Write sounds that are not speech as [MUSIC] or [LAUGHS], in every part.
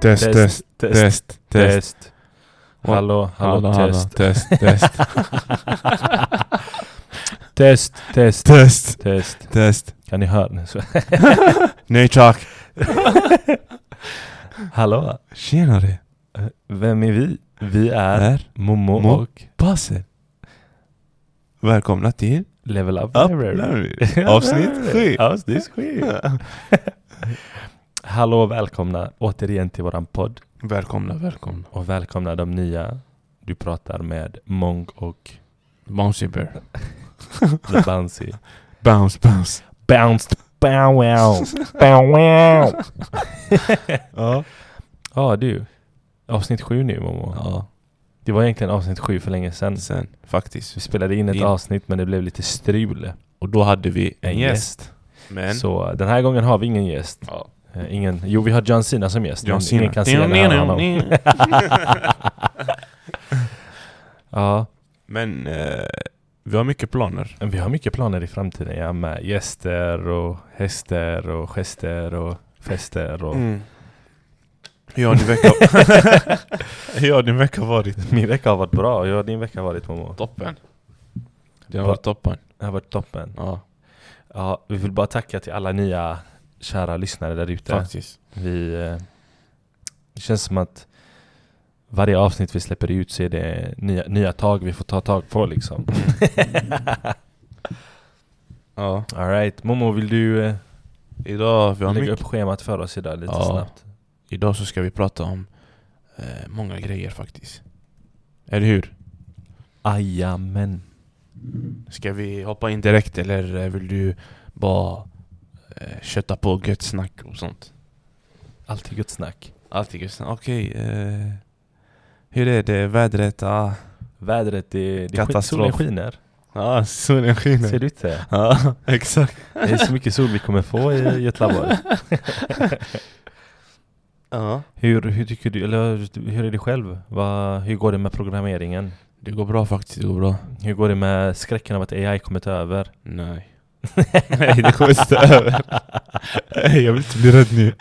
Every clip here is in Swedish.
Test, test, test, test. Hallå, hallå, test. test, test, [LAUGHS] [LAUGHS] Test, test, test, test. test. Kan ni höra? [LAUGHS] nu? Så- Nej tack. Hallå, Tjenare. vem är vi? Vi är Här. Momo Äh, Mo- och Basse. Välkomna till Level Up Up Library. [LAUGHS] [LAUGHS] Library. Avsnitt sju. Avsnitt [LAUGHS] sju. Hallå och välkomna återigen till våran podd Välkomna, välkomna. och välkomna de nya. Du pratar med Monk och Bouncy bear. The [LAUGHS] Bouncy. Bounce, bounce. Bounced, bow wow, bow wow. Ja. Ja du, avsnitt sju nu Momo. ja. Det var egentligen avsnitt sju för länge sedan. Sen, Vi faktiskt. spelade in ett In. avsnitt men det blev lite strul. Och då hade vi en En gäst. Men. Så eh, den här gången har vi ingen gäst. Ja. Eh, Ingen, jo, vi har John Cena som gäst. John men Cena. Ingen kan se eller höra honom. [LAUGHS] [LAUGHS] Ja, Men eh, vi har mycket planer. men vi har mycket planer i framtiden. Ja, med gäster och hästar och gester och fester Mm. [LAUGHS] och... Hur har din vecka, Hur har din vecka varit? Min vecka har varit bra. Ja, din vecka har varit Momo. Toppen. Det har Va- varit toppen. Det har varit toppen. Ja, Ja, vi vill bara tacka till alla nya kära lyssnare där ute. faktiskt. Vi... eh, Det känns som att varje avsnitt vi släpper ut så är det nya, nya tag vi får ta tag [LAUGHS] på liksom. Ja. Alright, Momo vill du eh, Idag, vi har lägga mycket. upp schemat för oss idag lite Ja. snabbt? Idag så ska vi prata om eh, många grejer faktiskt. Eller hur? Jajamän. Ska vi hoppa in direkt eller eh, vill du bara eh, köta på gött snack och sånt? Alltid gott snack. Alltid gött snack. Okej. eh, hur är det? Vädret? Ah. Vädret, det, det skit, Katastrof. solen skiner. Ja, solen Ser skiner. du inte? Ja, [LAUGHS] exakt. Det är så mycket sol vi kommer få [LAUGHS] i Göteborg. Ja. Hur, hur tycker du, eller hur är det själv? Va, hur går det med programmeringen? Det går bra faktiskt, det går bra. Hur går det med skräcken av att AI kommit över? Nej. [LAUGHS] Nej, det kommer stå över. Nej, jag vill inte bli rädd nu.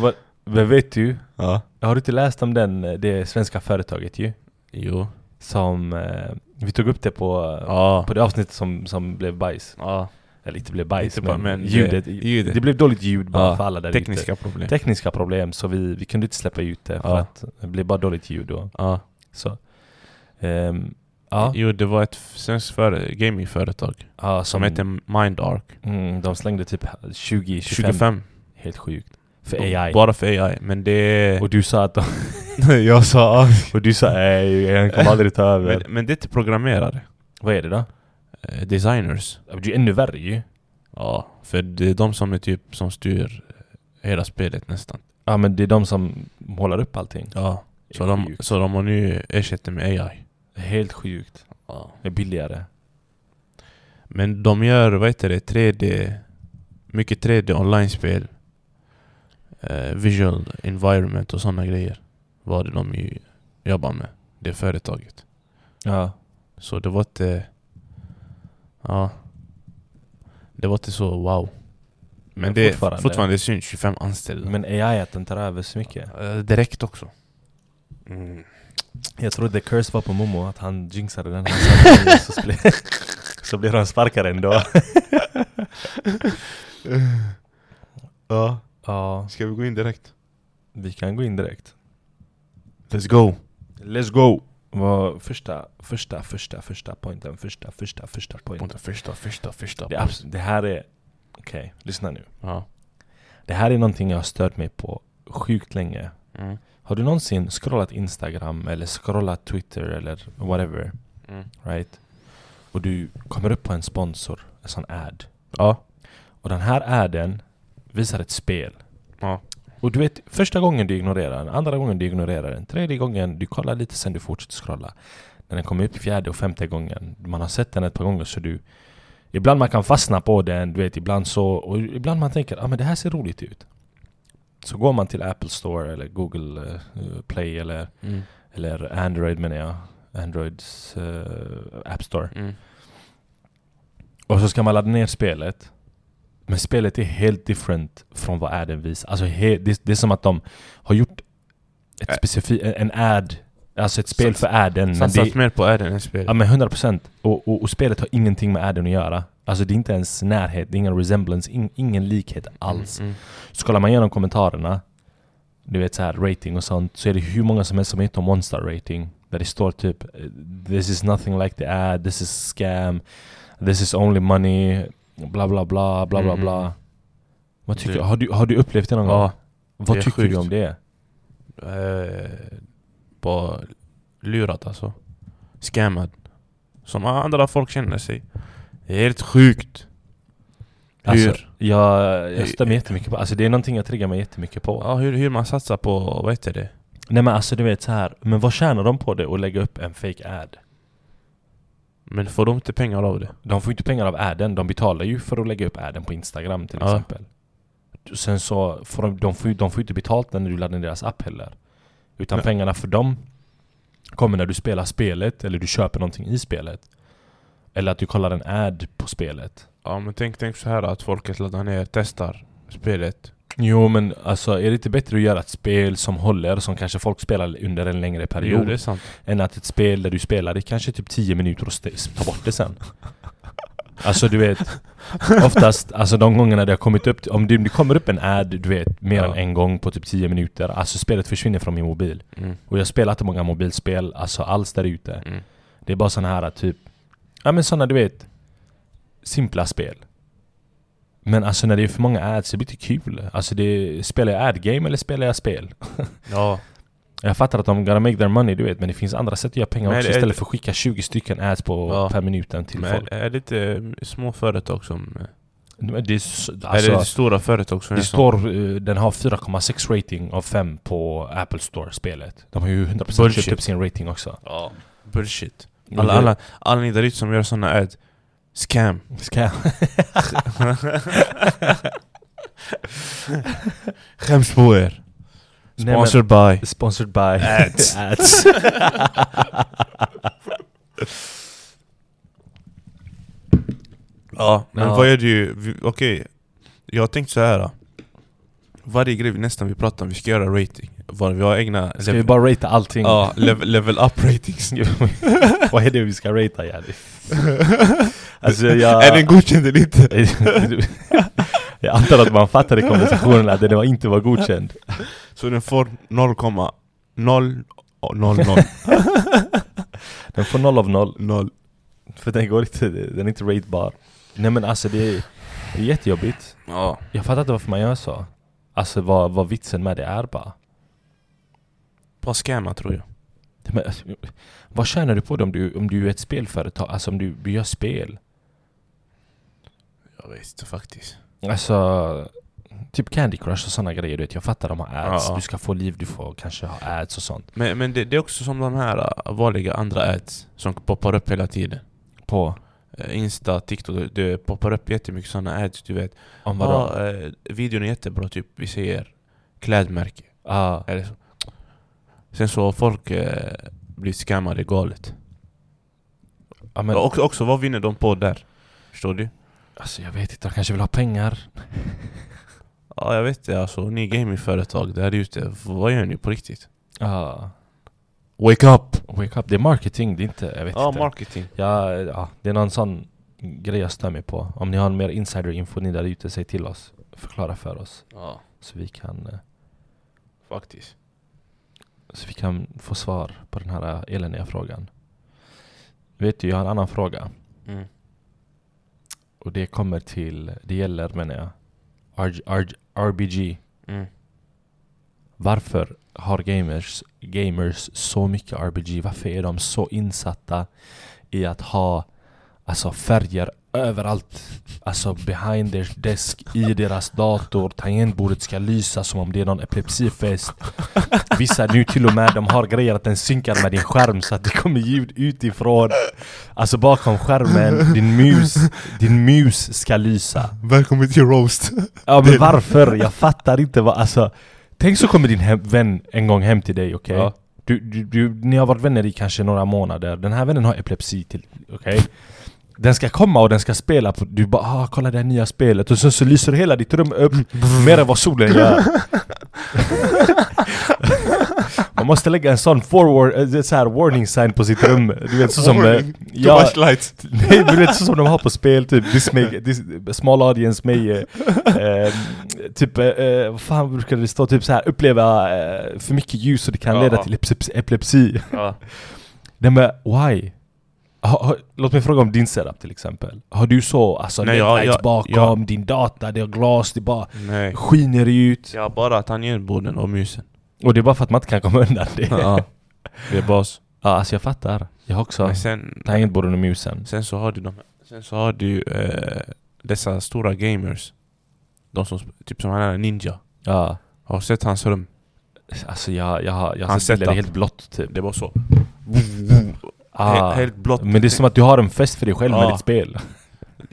Vad, vad vet du? Ja. Mm. Har du inte läst om den, eh, det svenska företaget ju? Jo. Som, eh, vi tog upp det på, Ja. på det avsnittet som, som blev bajs. ja. Eller inte blev bajs, Inte bara, men, men ljudet, det- det, ljudet. blev dåligt ljud bara Ja, för alla där ute. Tekniska problem. Tekniska problem, så vi, vi kunde inte släppa ut det för Ja. att det blev bara dåligt ljud då. ja. Så. Ehm, ja, Jo, det var ett f- svenskt före- gamingföretag ja, som hette MindArk. mm, de slängde typ 20-25, 25. helt sjukt. För AI. Bara för AI. Men det är... Och du sa att [LAUGHS] de, jag sa AI. och du Eh. sa nej, jag kommer aldrig ta över. Men, men det är till programmerare. Vad är det då? Eh, Designers. Ja, men Det är ju ännu värre ju. Ja. För det är de som är typ som styr eh, hela spelet nästan. Ja men det är de som målar upp allting. Ja. Så Det är de, sjukt. så de har nu ersatt det med AI. Helt sjukt. Ja. Det är billigare. Men de gör, vad heter det, 3D Mycket 3D online-spel eh, Visual environment och sådana grejer Var det de ju jobbar med Det företaget Ja. Så det var inte Ja Det var inte så wow Men, Men det fortfarande. fortfarande, fortfarande syns 25 anställda Men AI att den tar över så mycket. Eh, Direkt också Mm. Jag trodde curse var på Momo, att han jinxade [LAUGHS] den. Han satte den i, så, blev, [LAUGHS] så blev han sparkad ändå. Ja, Ja, ska vi gå in direkt? vi kan gå in direkt. Let's go! Let's go! Vad första, första, första, första pointen, första, första, första pointen. Första, första, första Det, är abs- det här är... Okej, lyssna nu. Ja Det här är någonting jag har stört mig på sjukt länge. mm. Har du någonsin scrollat Instagram eller scrollat Twitter eller whatever? Mm. Right? Och du kommer upp på en sponsor, en sån ad. Ja Och den här adden visar ett spel. Ja Och du vet, första gången du ignorerar den, andra gången du ignorerar den, tredje gången du kollar lite sen du fortsätter scrolla. När den kommer upp fjärde och femte gången, man har sett den ett par gånger så du... Ibland man kan fastna på den, du vet, ibland så... Och ibland man tänker, ah, men det här ser roligt ut. Så går man till Apple Store eller Google eh, Play eller, mm. eller Android menar jag. Androids eh, App Store. Mm. Och så ska man ladda ner spelet. Men spelet är helt different från vad adden visar. Alltså he, det, det är som att de har gjort ett Ä- specifi- en- en ad, alltså ett spel Sats- för adden. men det- Satsat mer på Adam än spel. Ja men 100 procent. Och, och, och spelet har ingenting med Adam att göra. Alltså det är inte ens närhet, det är ingen resemblance, in, ingen likhet alls. Mm, mm. Så kollar man igenom kommentarerna, du vet så här rating och sånt, så är det hur många som helst som hittar monster rating. Där det står typ “This is nothing like the ad”, “This is scam”, “This is only money”, bla bla bla, bla bla Mm. bla. Vad tycker Det- du? Har, du, har du upplevt det någon gång? Ja, Vad det är tycker du sjukt. om det? eh, bara lurat alltså. Scammad. Som andra folk känner sig. Det är helt sjukt. Alltså, Hur? Jag, Hur- jag stör mig jättemycket på Alltså det är någonting jag triggar mig jättemycket på. Ja, hur, hur man satsar på, vad heter det? Nej men alltså du vet så här. men vad tjänar de på det att lägga upp en fake ad? Men får de inte pengar av det? De får ju inte pengar av adden, de betalar ju för att lägga upp adden på Instagram till Ja. exempel. Sen så får de, de får ju de får ju inte betalt när du laddar ner deras app heller. Utan Nej. pengarna för dem kommer när du spelar spelet eller du köper någonting i spelet. Eller att du kollar en ad på spelet. Ja men tänk, tänk så här att folket laddar ner, testar spelet. Jo men alltså är det inte bättre att göra ett spel som håller, som kanske folk spelar under en längre period? Jo det är sant. Än att ett spel där du spelar det kanske typ 10 minuter och st- tar bort det sen. Alltså du vet, oftast, alltså de gångerna det har kommit upp, om det, det kommer upp en ad, du vet, mer Ja. än en gång på typ 10 minuter, alltså spelet försvinner från min mobil. Mm. Och jag spelar inte många mobilspel, alltså alls där ute. Mm. Det är bara såna här typ, ja men såna du vet, simpla spel. Men alltså när det är för många ads, det blir inte kul. Alltså det, spelar jag ad-game eller spelar jag spel? Ja. Jag fattar att de gotta make their money, du vet. Men det finns andra sätt att göra pengar Men också är det- istället för att skicka 20 stycken ads på Ja. per minuten till Men folk. är, är det inte eh, små företag som... eh, Men det är, s- är alltså, det stora företag som det är står... eh, Den har 4,6 rating av 5 på Apple Store-spelet. De har ju 100% Bullshit. köpt upp sin rating också. så? Ja. Bullshit. Alla, alla, alla ni där ute som gör såna ad. Scam. Ska jag? [LAUGHS] Skäms på er. [LAUGHS] Nej, men- Sponsored by. Sponsored by... Ads. [LAUGHS] ads. Ja, men Ja. vad är det ju... vi- Okej, jag har tänkt så här. då. Varje grej vi nästan vi pratar om, vi ska göra rating. Var vi har egna... Ska vi level- bara rata allting? Ja, level, level up [LAUGHS] ratings. [LAUGHS] Vad är det vi ska rata Jari? [LAUGHS] alltså [LAUGHS] jag... [LAUGHS] Är den godkänd eller inte? [LAUGHS] jag antar att man fattade konversationen att den var inte var godkänd. Så den får 0,0000. Den får noll av noll För den går inte, den är inte ratebar. Nej men alltså det är, det är jättejobbigt. [LAUGHS] Ja. Jag fattar inte varför man gör så. Alltså vad, vad vitsen med det är bara. Bara scamma tror jag. Men, alltså, vad tjänar du på det om du, om du är ett spelföretag? Alltså om du, du gör spel? Jag vet inte faktiskt. Alltså, typ Candy Crush och sådana grejer. Du vet, jag fattar de har ads. Ja, ja. Du ska få liv, du får kanske ha ads och sånt. Men, men det, det är också som de här äh, vanliga andra ads som poppar upp hela tiden. På? Eh, Insta, TikTok, det- det poppar upp jättemycket sådana ads du vet. Om vadå? Ja, eh, videon är jättebra, typ vi säger klädmärke Ah, eller så. Sen så har folk eh, blivit scammade galet. ja, men, Och, också vad vinner de på där? Förstår du? alltså jag vet inte, de kanske vill ha pengar. Ja jag vet det alltså, ni gamingföretag där ute, vad gör ni på riktigt? Ah, Wake up! wake up. Det är marketing, det är inte... Jag vet Ja, inte. marketing. Ja, ja, det är någon sån grej jag stör mig på. Om ni har mer insiderinfo ni där ute, säg till oss. Förklara för oss. Ja, Så vi kan, eh, faktiskt. så vi kan få svar på den här eh, eländiga frågan. Vet du, jag har en annan fråga. Mm. Och det kommer till, det gäller menar jag, RG, RG, RBG. Mm. Varför har gamers, gamers så mycket RBG? Varför är de så insatta i att ha alltså, färger överallt? Alltså behind their desk, i deras dator, tangentbordet ska lysa som om det är någon epilepsifest. Vissa nu till och med, de har grejer att den synkar med din skärm så att det kommer ljud utifrån. Alltså bakom skärmen, din mus, din mus ska lysa. Välkommen till roast! Ja men varför? Jag fattar inte vad, alltså Tänk så kommer din hem, vän en gång hem till dig, okej? Ja. Du, du, du, ni har varit vänner i kanske några månader Den här vännen har epilepsi till, okej? Den ska komma och den ska spela på, du bara ah, kolla det här nya spelet och sen så lyser hela ditt rum upp Mm. mer än vad [LAUGHS] solen gör Man måste lägga en sån forward, eh, så här warning sign på sitt rum Du vet så som... eh, Warning. Too Ja, much light. nej men du vet så som de har på spel typ this may, this, Small audience may... eh, eh, typ, eh, eh, vad fan brukar det stå? Typ så här uppleva eh, för mycket ljus och det kan Ja, leda ja. till epilepsi- epilepsi Ja. Nej men why? Ha, ha, låt mig fråga om din setup till exempel. Har du så, alltså Nej, Nej, jag- lights jag- bakom, din data, det är glas, det bara Nej. skiner ut. Ja, bara tangentborden och musen. Och det är bara för att man inte kan komma undan det. Ja, [LAUGHS] Ja. Det är bas. alltså jag fattar. Jag har också Men sen, tangentbordet och musen. sen så har du de Sen så har du eh, dessa stora gamers. De som, sp- typ som han är ninja. Ja. Har du sett hans rum? Alltså jag, jag, har- jag har Hans sett bilder, det är setup. helt blått typ. Det var så. Ah. Helt, helt blått. Men det är som att du har en fest för dig själv med Ja. ditt spel.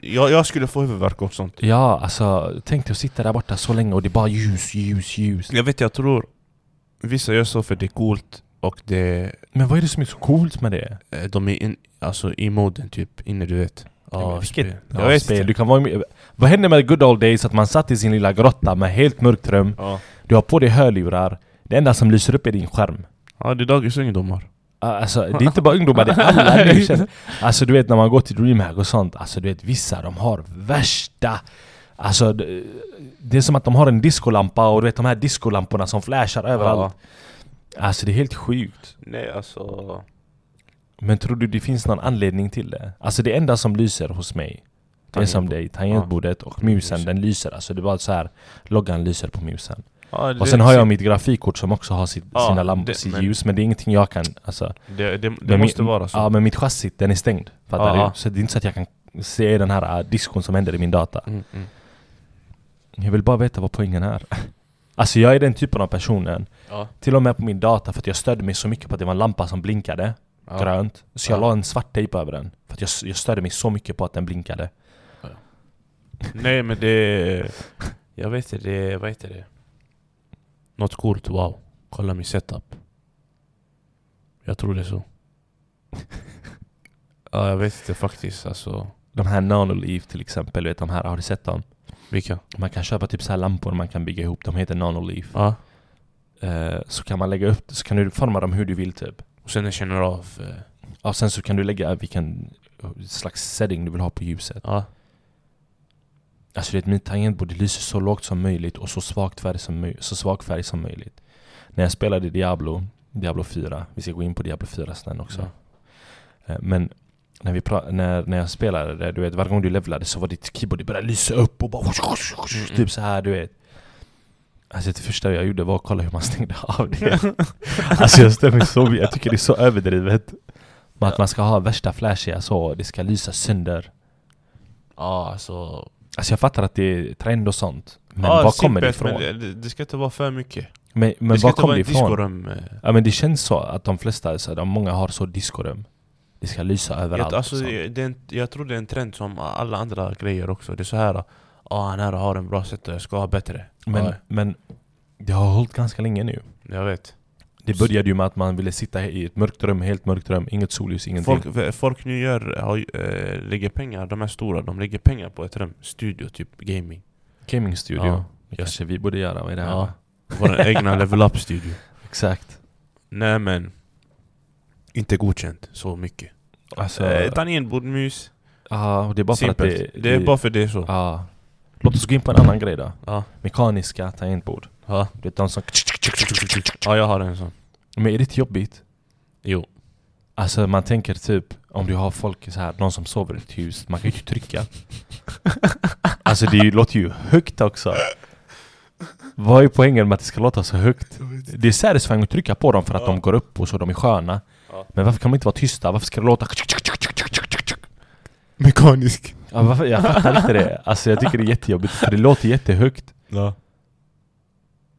jag, jag skulle få huvudvärk och sånt. Ja, alltså tänk dig att sitta där borta så länge och det är bara ljus, ljus, ljus. Jag vet, jag tror vissa gör så för det är coolt och det, Men vad är det som är så coolt med det? eh, de är in, alltså i moden typ, inne du vet. Ja, spel. Jag Ja, vet spel. inte. Du kan vara med. Vad hände med good old days? Att man satt i sin lilla grotta med helt mörkt rum. Ja. Du har på dig hörlurar. Det enda som lyser upp är din skärm. ja, det är dagens ungdomar. Ah, Alltså, det är inte bara ungdomar, det är alla nu. känns- Alltså du vet när man går till DreamHack och sånt. Alltså du vet vissa, de har värsta... Alltså det- det är som att de har en discolampa och du vet de här discolamporna som flashar överallt. Alltså det är helt sjukt. Nej, alltså... Men tror du det finns någon anledning till det? Alltså det enda som lyser hos mig Det är som dig, tangentbordet och musen, Musen. den lyser alltså. Det är bara så här, loggan lyser på musen. Ja, Och det- sen har jag mitt grafikkort som också har sitt, Ja, sina lampor, det- sitt men- ljus, men det är ingenting jag kan... Alltså, Det, det, det men måste min, vara så. Ja, men mitt chassit, den är stängd. Fattar Ja. du? Så det är inte så att jag kan se den här äh, diskon som händer i min data. Mm, mm. Jag vill bara veta vad poängen är. [LAUGHS] Alltså jag är den typen av personen, Ja. till och med på min data, för att jag störde mig så mycket på att det var en lampa som blinkade, Ja. grönt. Så jag Ja. la en svart tejp över den. För att jag, s- jag störde mig så mycket på att den blinkade. Nej men det... Jag vet inte, det... Vad heter det? Något coolt, wow. Kolla min setup. Jag tror det är så. [LAUGHS] ja, jag vet inte faktiskt alltså. De här Nanoleaf till exempel, du vet de här, har du sett dem? Vilka? Man kan köpa typ så här lampor man kan bygga ihop, de heter Nanoleaf. Ja. Eh, så kan man lägga upp så kan du forma dem hur du vill typ. Och sen jag känner av... eh, Och sen så kan du lägga vilken eh, slags setting du vill ha på ljuset. Ja. Alltså du vet, min tangentbord det lyser så lågt som möjligt och så, svagt färg som möj- så svag färg som möjligt. När jag spelade Diablo, Diablo 4, vi ska gå in på Diablo 4 sen också. Ja. Eh, Men när, vi pra- när, när jag spelade det, du vet, varje gång du levlade så var ditt keyboard, det började lysa upp och bara Mm. typ så här du vet. Alltså det första jag gjorde var att kolla hur man stängde av det. [LAUGHS] alltså jag stämmer så, jag tycker det är så överdrivet. Men att man ska ha värsta flashiga så, det ska lysa sönder. Ja, alltså... Alltså jag fattar att det är trend och sånt. Men ja, var kommer det simpelt, men ifrån? det, det ska inte vara för mycket. Men, men det ska var inte kommer vara det ett ifrån? diskorum. eh, Ja men det känns så att de flesta, så här, de många har så diskorum. Det ska lysa överallt. liksom. Jag, alltså, och sånt. det, det är en, jag tror det är en trend som alla andra grejer också. Det är så här... Ja, han här har en bra setup, jag ska ha bättre. men, Ja, men det har hållit ganska länge nu. jag vet. Det började ju med att man ville sitta i ett mörkt rum, helt mörkt rum, inget solljus, ingenting. Folk, v- folk nu gör, har, ju, eh, lägger pengar, de här stora, de lägger pengar på ett rum, studio, typ gaming. Gamingstudio. Ja. Det kanske vi borde göra, vad är det här? Ja. [LAUGHS] Vår egna level up studio. Exakt. Nej men, inte godkänt så mycket. Alltså, Eh, Tangentbordmus, ja, och det är bara för att simpelt. det... Ah, Det, är bara för det är så. ja. Låt oss gå in på en annan grej då. Ja. Mekaniska tangentbord. Ja. Du vet de som... ja, jag har en sån. Men är det inte jobbigt? Jo. Alltså man tänker typ om du har folk så här, någon som sover i ett hus, man kan ju inte [LAUGHS] trycka. alltså det är ju- låter ju högt också. Vad är poängen med att det ska låta så högt? Det är satisfying att trycka på dem för att Ja. de går upp och så, de är sköna. Ja. Men varför kan de inte vara tysta? Varför ska det låta... Mekanisk. Ja, varför? Jag fattar inte det. Alltså jag tycker det är jättejobbigt för det låter jättehögt. Ja.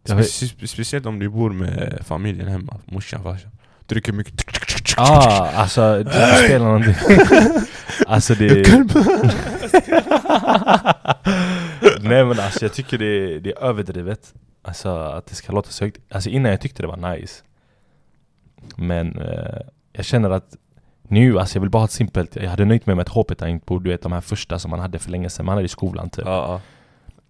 Jag vet- Specie- speciellt om du bor med familjen hemma, morsan, farsan. Trycker mycket. Ah, alltså det spelar någonting. [LAUGHS] alltså det... [LAUGHS] Nej men alltså jag tycker det, det är överdrivet. Alltså att det ska låta så högt. Alltså innan jag tyckte det var nice. Men eh, jag känner att Nu, alltså jag vill bara ha ett simpelt, jag hade nöjt mig med ett HP-tangentbord, du vet de här första som man hade för länge sedan, man hade i skolan typ. Ja,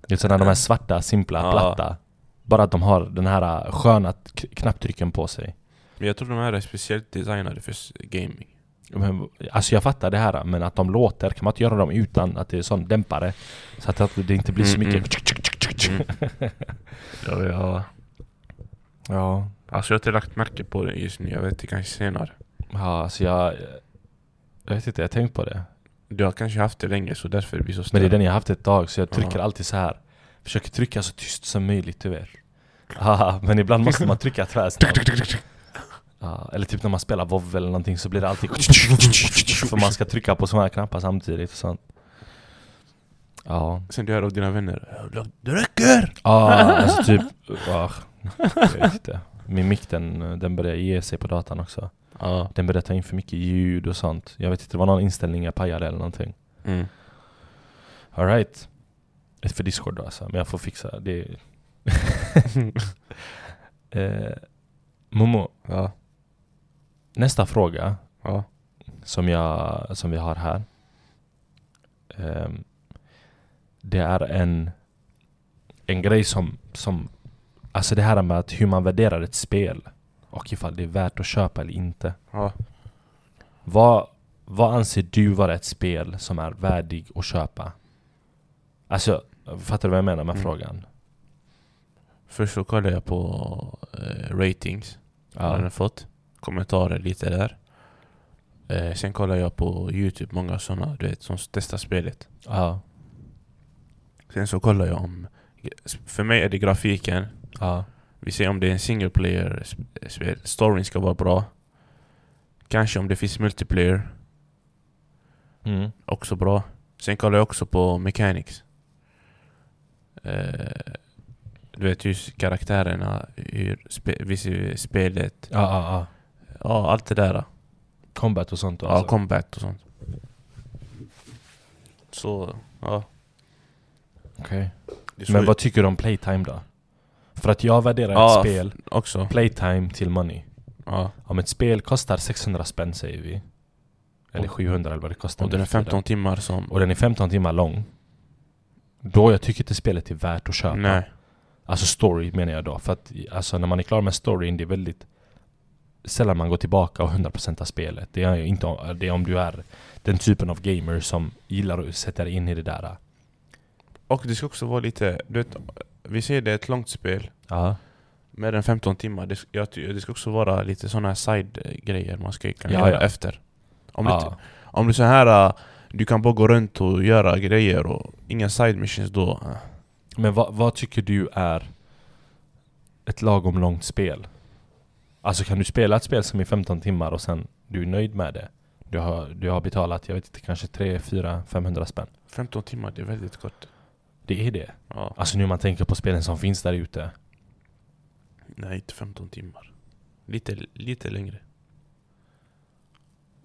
Det är sådana de här svarta, simpla, Ja. platta. Bara att de har den här äh, sköna k- knapptrycken på sig. Men jag tror de här är speciellt designade för s- gaming. Men, alltså jag fattar det här, men att de låter, kan man inte göra dem utan att det är sån dämpare? Så att, att det inte blir så Mm, mycket... mm. Ja, ja. Ja, [LAUGHS] Alltså jag har inte lagt märke på det just nu, jag vet det kanske senare. ja alltså jag... Jag vet inte, jag har tänkt på det. Du har kanske haft det länge så därför det blir så Men det är störigt. den jag haft ett tag, så jag trycker Ja. alltid så här. Försöker trycka så tyst som möjligt, du vet. Haha, men ibland måste man trycka tvärsnabbt. Ja, eller typ när man spelar WoW eller någonting så blir det alltid För man ska trycka på såna här knappar samtidigt och sånt Ja, Sen du hör av dina vänner. Det räcker! [LAUGHS] ah, alltså typ ah, jag vet inte. Min mick den, den börjar ge sig på datan också Ja. Den börjar ta in för mycket ljud och sånt Jag vet inte, det var någon inställning jag pajade eller någonting Mm. Alright Ett för Discord då alltså, men jag får [LAUGHS] fixa det [LAUGHS] eh, Momo, Ja. nästa fråga Ja. som, jag, som vi har här. Ehm, det är en, en grej som, som... Alltså det här med att hur man värderar ett spel och ifall det är värt att köpa eller inte. Ja. Vad, vad anser du vara ett spel som är värdig att köpa? Alltså, fattar du vad jag menar med Mm. frågan? Först så kollade jag på eh, ratings. Vad den Ja. har fått. Kommentarer lite där. Eh, sen kollade jag på Youtube, många sådana du vet som testar spelet. Ja. Sen så kollade jag om... För mig är det grafiken. Ja. Vi ser om det är en single player sp- spel. Storyn ska vara bra. Kanske om det finns multiplayer, Mm. också bra. Sen kollar jag också på mechanics. Eh, du vet hur karaktärerna, hur spe, visst, spelet, Ja, ja, ja. ja allt det där. Combat och sånt då, Ja, combat och sånt. Så, ja. Okej. Det är så Men vad tycker du om playtime då? För att jag värderar Ja, ett spel också. playtime till money. Ja. Om ett spel kostar 600 spänn säger vi. Eller Och- 700 eller vad det kostar. Och den nu är för tiden. 15 timmar som... Och den är 15 timmar lång. Då jag tycker inte spelet är värt att köpa. Nej. Alltså story menar jag då. För att alltså, när man är klar med storyn, det är väldigt sällan man går tillbaka och 100% av spelet. Det är, ju inte, om- det är om du är den typen av gamer som gillar att sätta dig in i det där. Och det ska också vara lite, du vet, vi ser det är ett långt spel. Ja, Mer än 15 timmar. Det, jag, ty- det ska också vara lite sådana här side-grejer man ska kunna Ja, göra ja. efter. Om, du, ja. Om du så här, äh, du kan bara gå runt och göra grejer och inga side missions då. äh. Men vad, vad tycker du är ett lagom långt spel? Alltså kan du spela ett spel som är 15 timmar och sen du är nöjd med det? Du har, du har betalat, jag vet inte, kanske 3, 4, 500 spänn. 15 timmar, det är väldigt kort. Det är det. Ja. Alltså nu man tänker på spelen som finns där ute. Nej, inte 15 timmar. Lite, lite längre.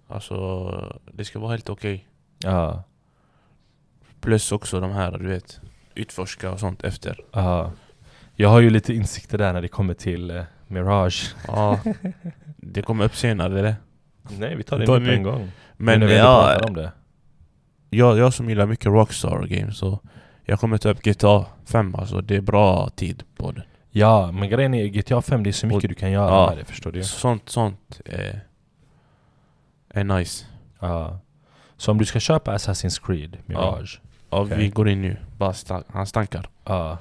Alltså, det ska vara helt okej. Ja. Plus också de här, du vet, utforska och sånt efter. ja. Jag har ju lite insikter där när det kommer till eh, Mirage. Ja. [LAUGHS] det kommer upp senare, eller? Nej, vi tar det Ta nu en på ny- en gång. Men Nu när vi ändå ja, pratar om det. jag, jag som gillar mycket Rockstar Games, så jag kommer typ ta upp GTA 5, alltså det är bra tid på det. Ja, men grejen är GTA 5, det är så mycket Och- du kan göra ja. med det, förstår du? Sånt, sånt eh, är nice. Ja. Så om du ska köpa Assassin's Creed Mirage, Ja, Okej. Vi går in nu. Bara stank, han stankar. Ja.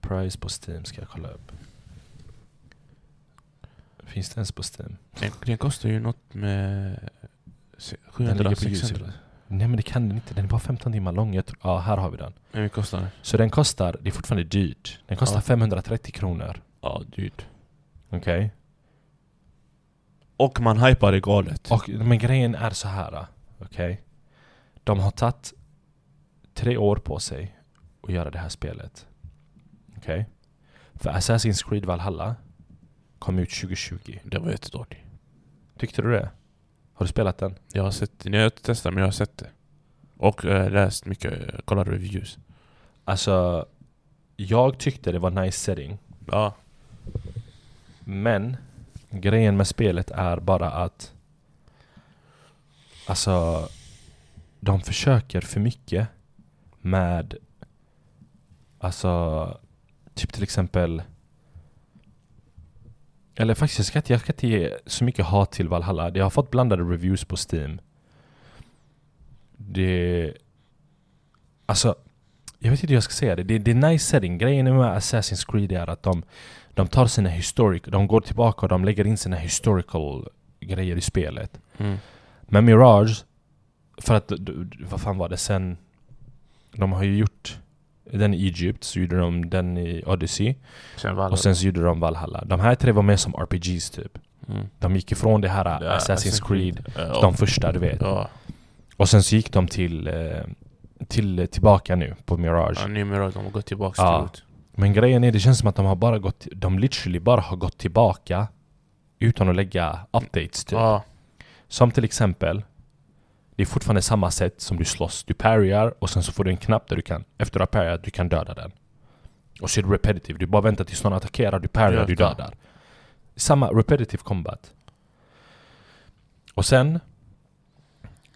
Price på Steam ska jag kolla upp. Finns det ens på Steam? Den, den kostar ju något med se- 700 600. Nej men det kan den inte, den är bara 15 timmar lång. Jag tror, ja, här har vi den. Hur mycket kostar den? Så den kostar, det är fortfarande dyrt. Den kostar Ja. 530 kronor. Ja, dyrt. Okej. Och man hypar det galet. Och, men grejen är så här. ah. Okej. De har tagit tre år på sig att göra det här spelet. Okej. För Assassin's Creed Valhalla kom ut 2020. Det var jättedåligt. Tyckte du det? Har du spelat den? Jag har sett det. Jag har inte testat men jag har sett det. Och eh, läst mycket, eh, kollat reviews. Alltså, jag tyckte det var nice setting. Ja. Men grejen med spelet är bara att Alltså, de försöker för mycket med Alltså, typ till exempel Eller faktiskt, jag ska inte, jag ska inte ge så mycket hat till Valhalla. Det har fått blandade reviews på Steam. Det... Alltså, jag vet inte hur jag ska säga det. Det, det är nice setting. Grejen med Assassin's Creed är att de, de tar sina historic... De går tillbaka och de lägger in sina historical grejer i spelet. Mm. Men Mirage, för att, du- du- vad fan var det sen? De har ju gjort den i Egypt, så gjorde de den i Odyssey Sen Valhalla. och sen så gjorde de Valhalla. De här tre var med som RPGs typ. mm. De gick ifrån det här äh, Det är Assassin's Creed, Ja. de första du vet. Ja, Och sen så gick de till, eh, till tillbaka nu på Mirage. ja nu Mirage, de har gått tillbaka Ja. till Men grejen är, det känns som att de har bara gått, de literally bara har gått tillbaka utan att lägga updates typ. Ja, Som till exempel, det är fortfarande samma sätt som du slåss. Du parryar och sen så får du en knapp där du kan, efter att du har parryat, du kan döda den. Och så är det repetitive, du bara väntar tills någon attackerar, du parryar, du Just det. dödar. Samma repetitive combat. Och sen,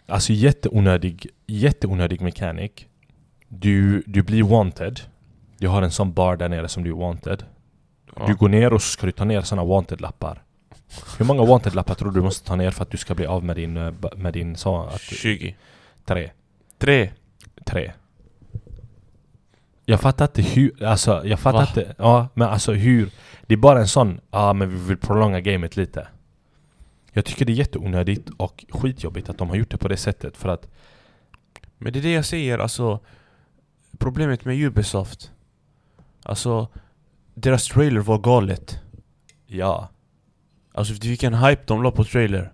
alltså jätteonödig, jätteonödig mechanic. Du, du blir wanted. Du har en sån bar där nere som du är wanted. ja. Du går ner och så ska du ta ner såna wanted-lappar. Hur många wanted-lappar tror du du måste ta ner för att du ska bli av med din... eh, ba- Med din så att, 20. tre. 3. Tre. Jag fattar inte hur... Alltså, jag fattar Va? inte... Ja, men alltså hur... Det är bara en sån... Ja, ah, men vi vill prolonga gamet lite. Jag tycker det är jätteonödigt och skitjobbigt att de har gjort det på det sättet för att... Men det är det jag säger, alltså Problemet med Ubisoft Alltså Deras trailer var galet Ja. Alltså vilken hype de la på trailer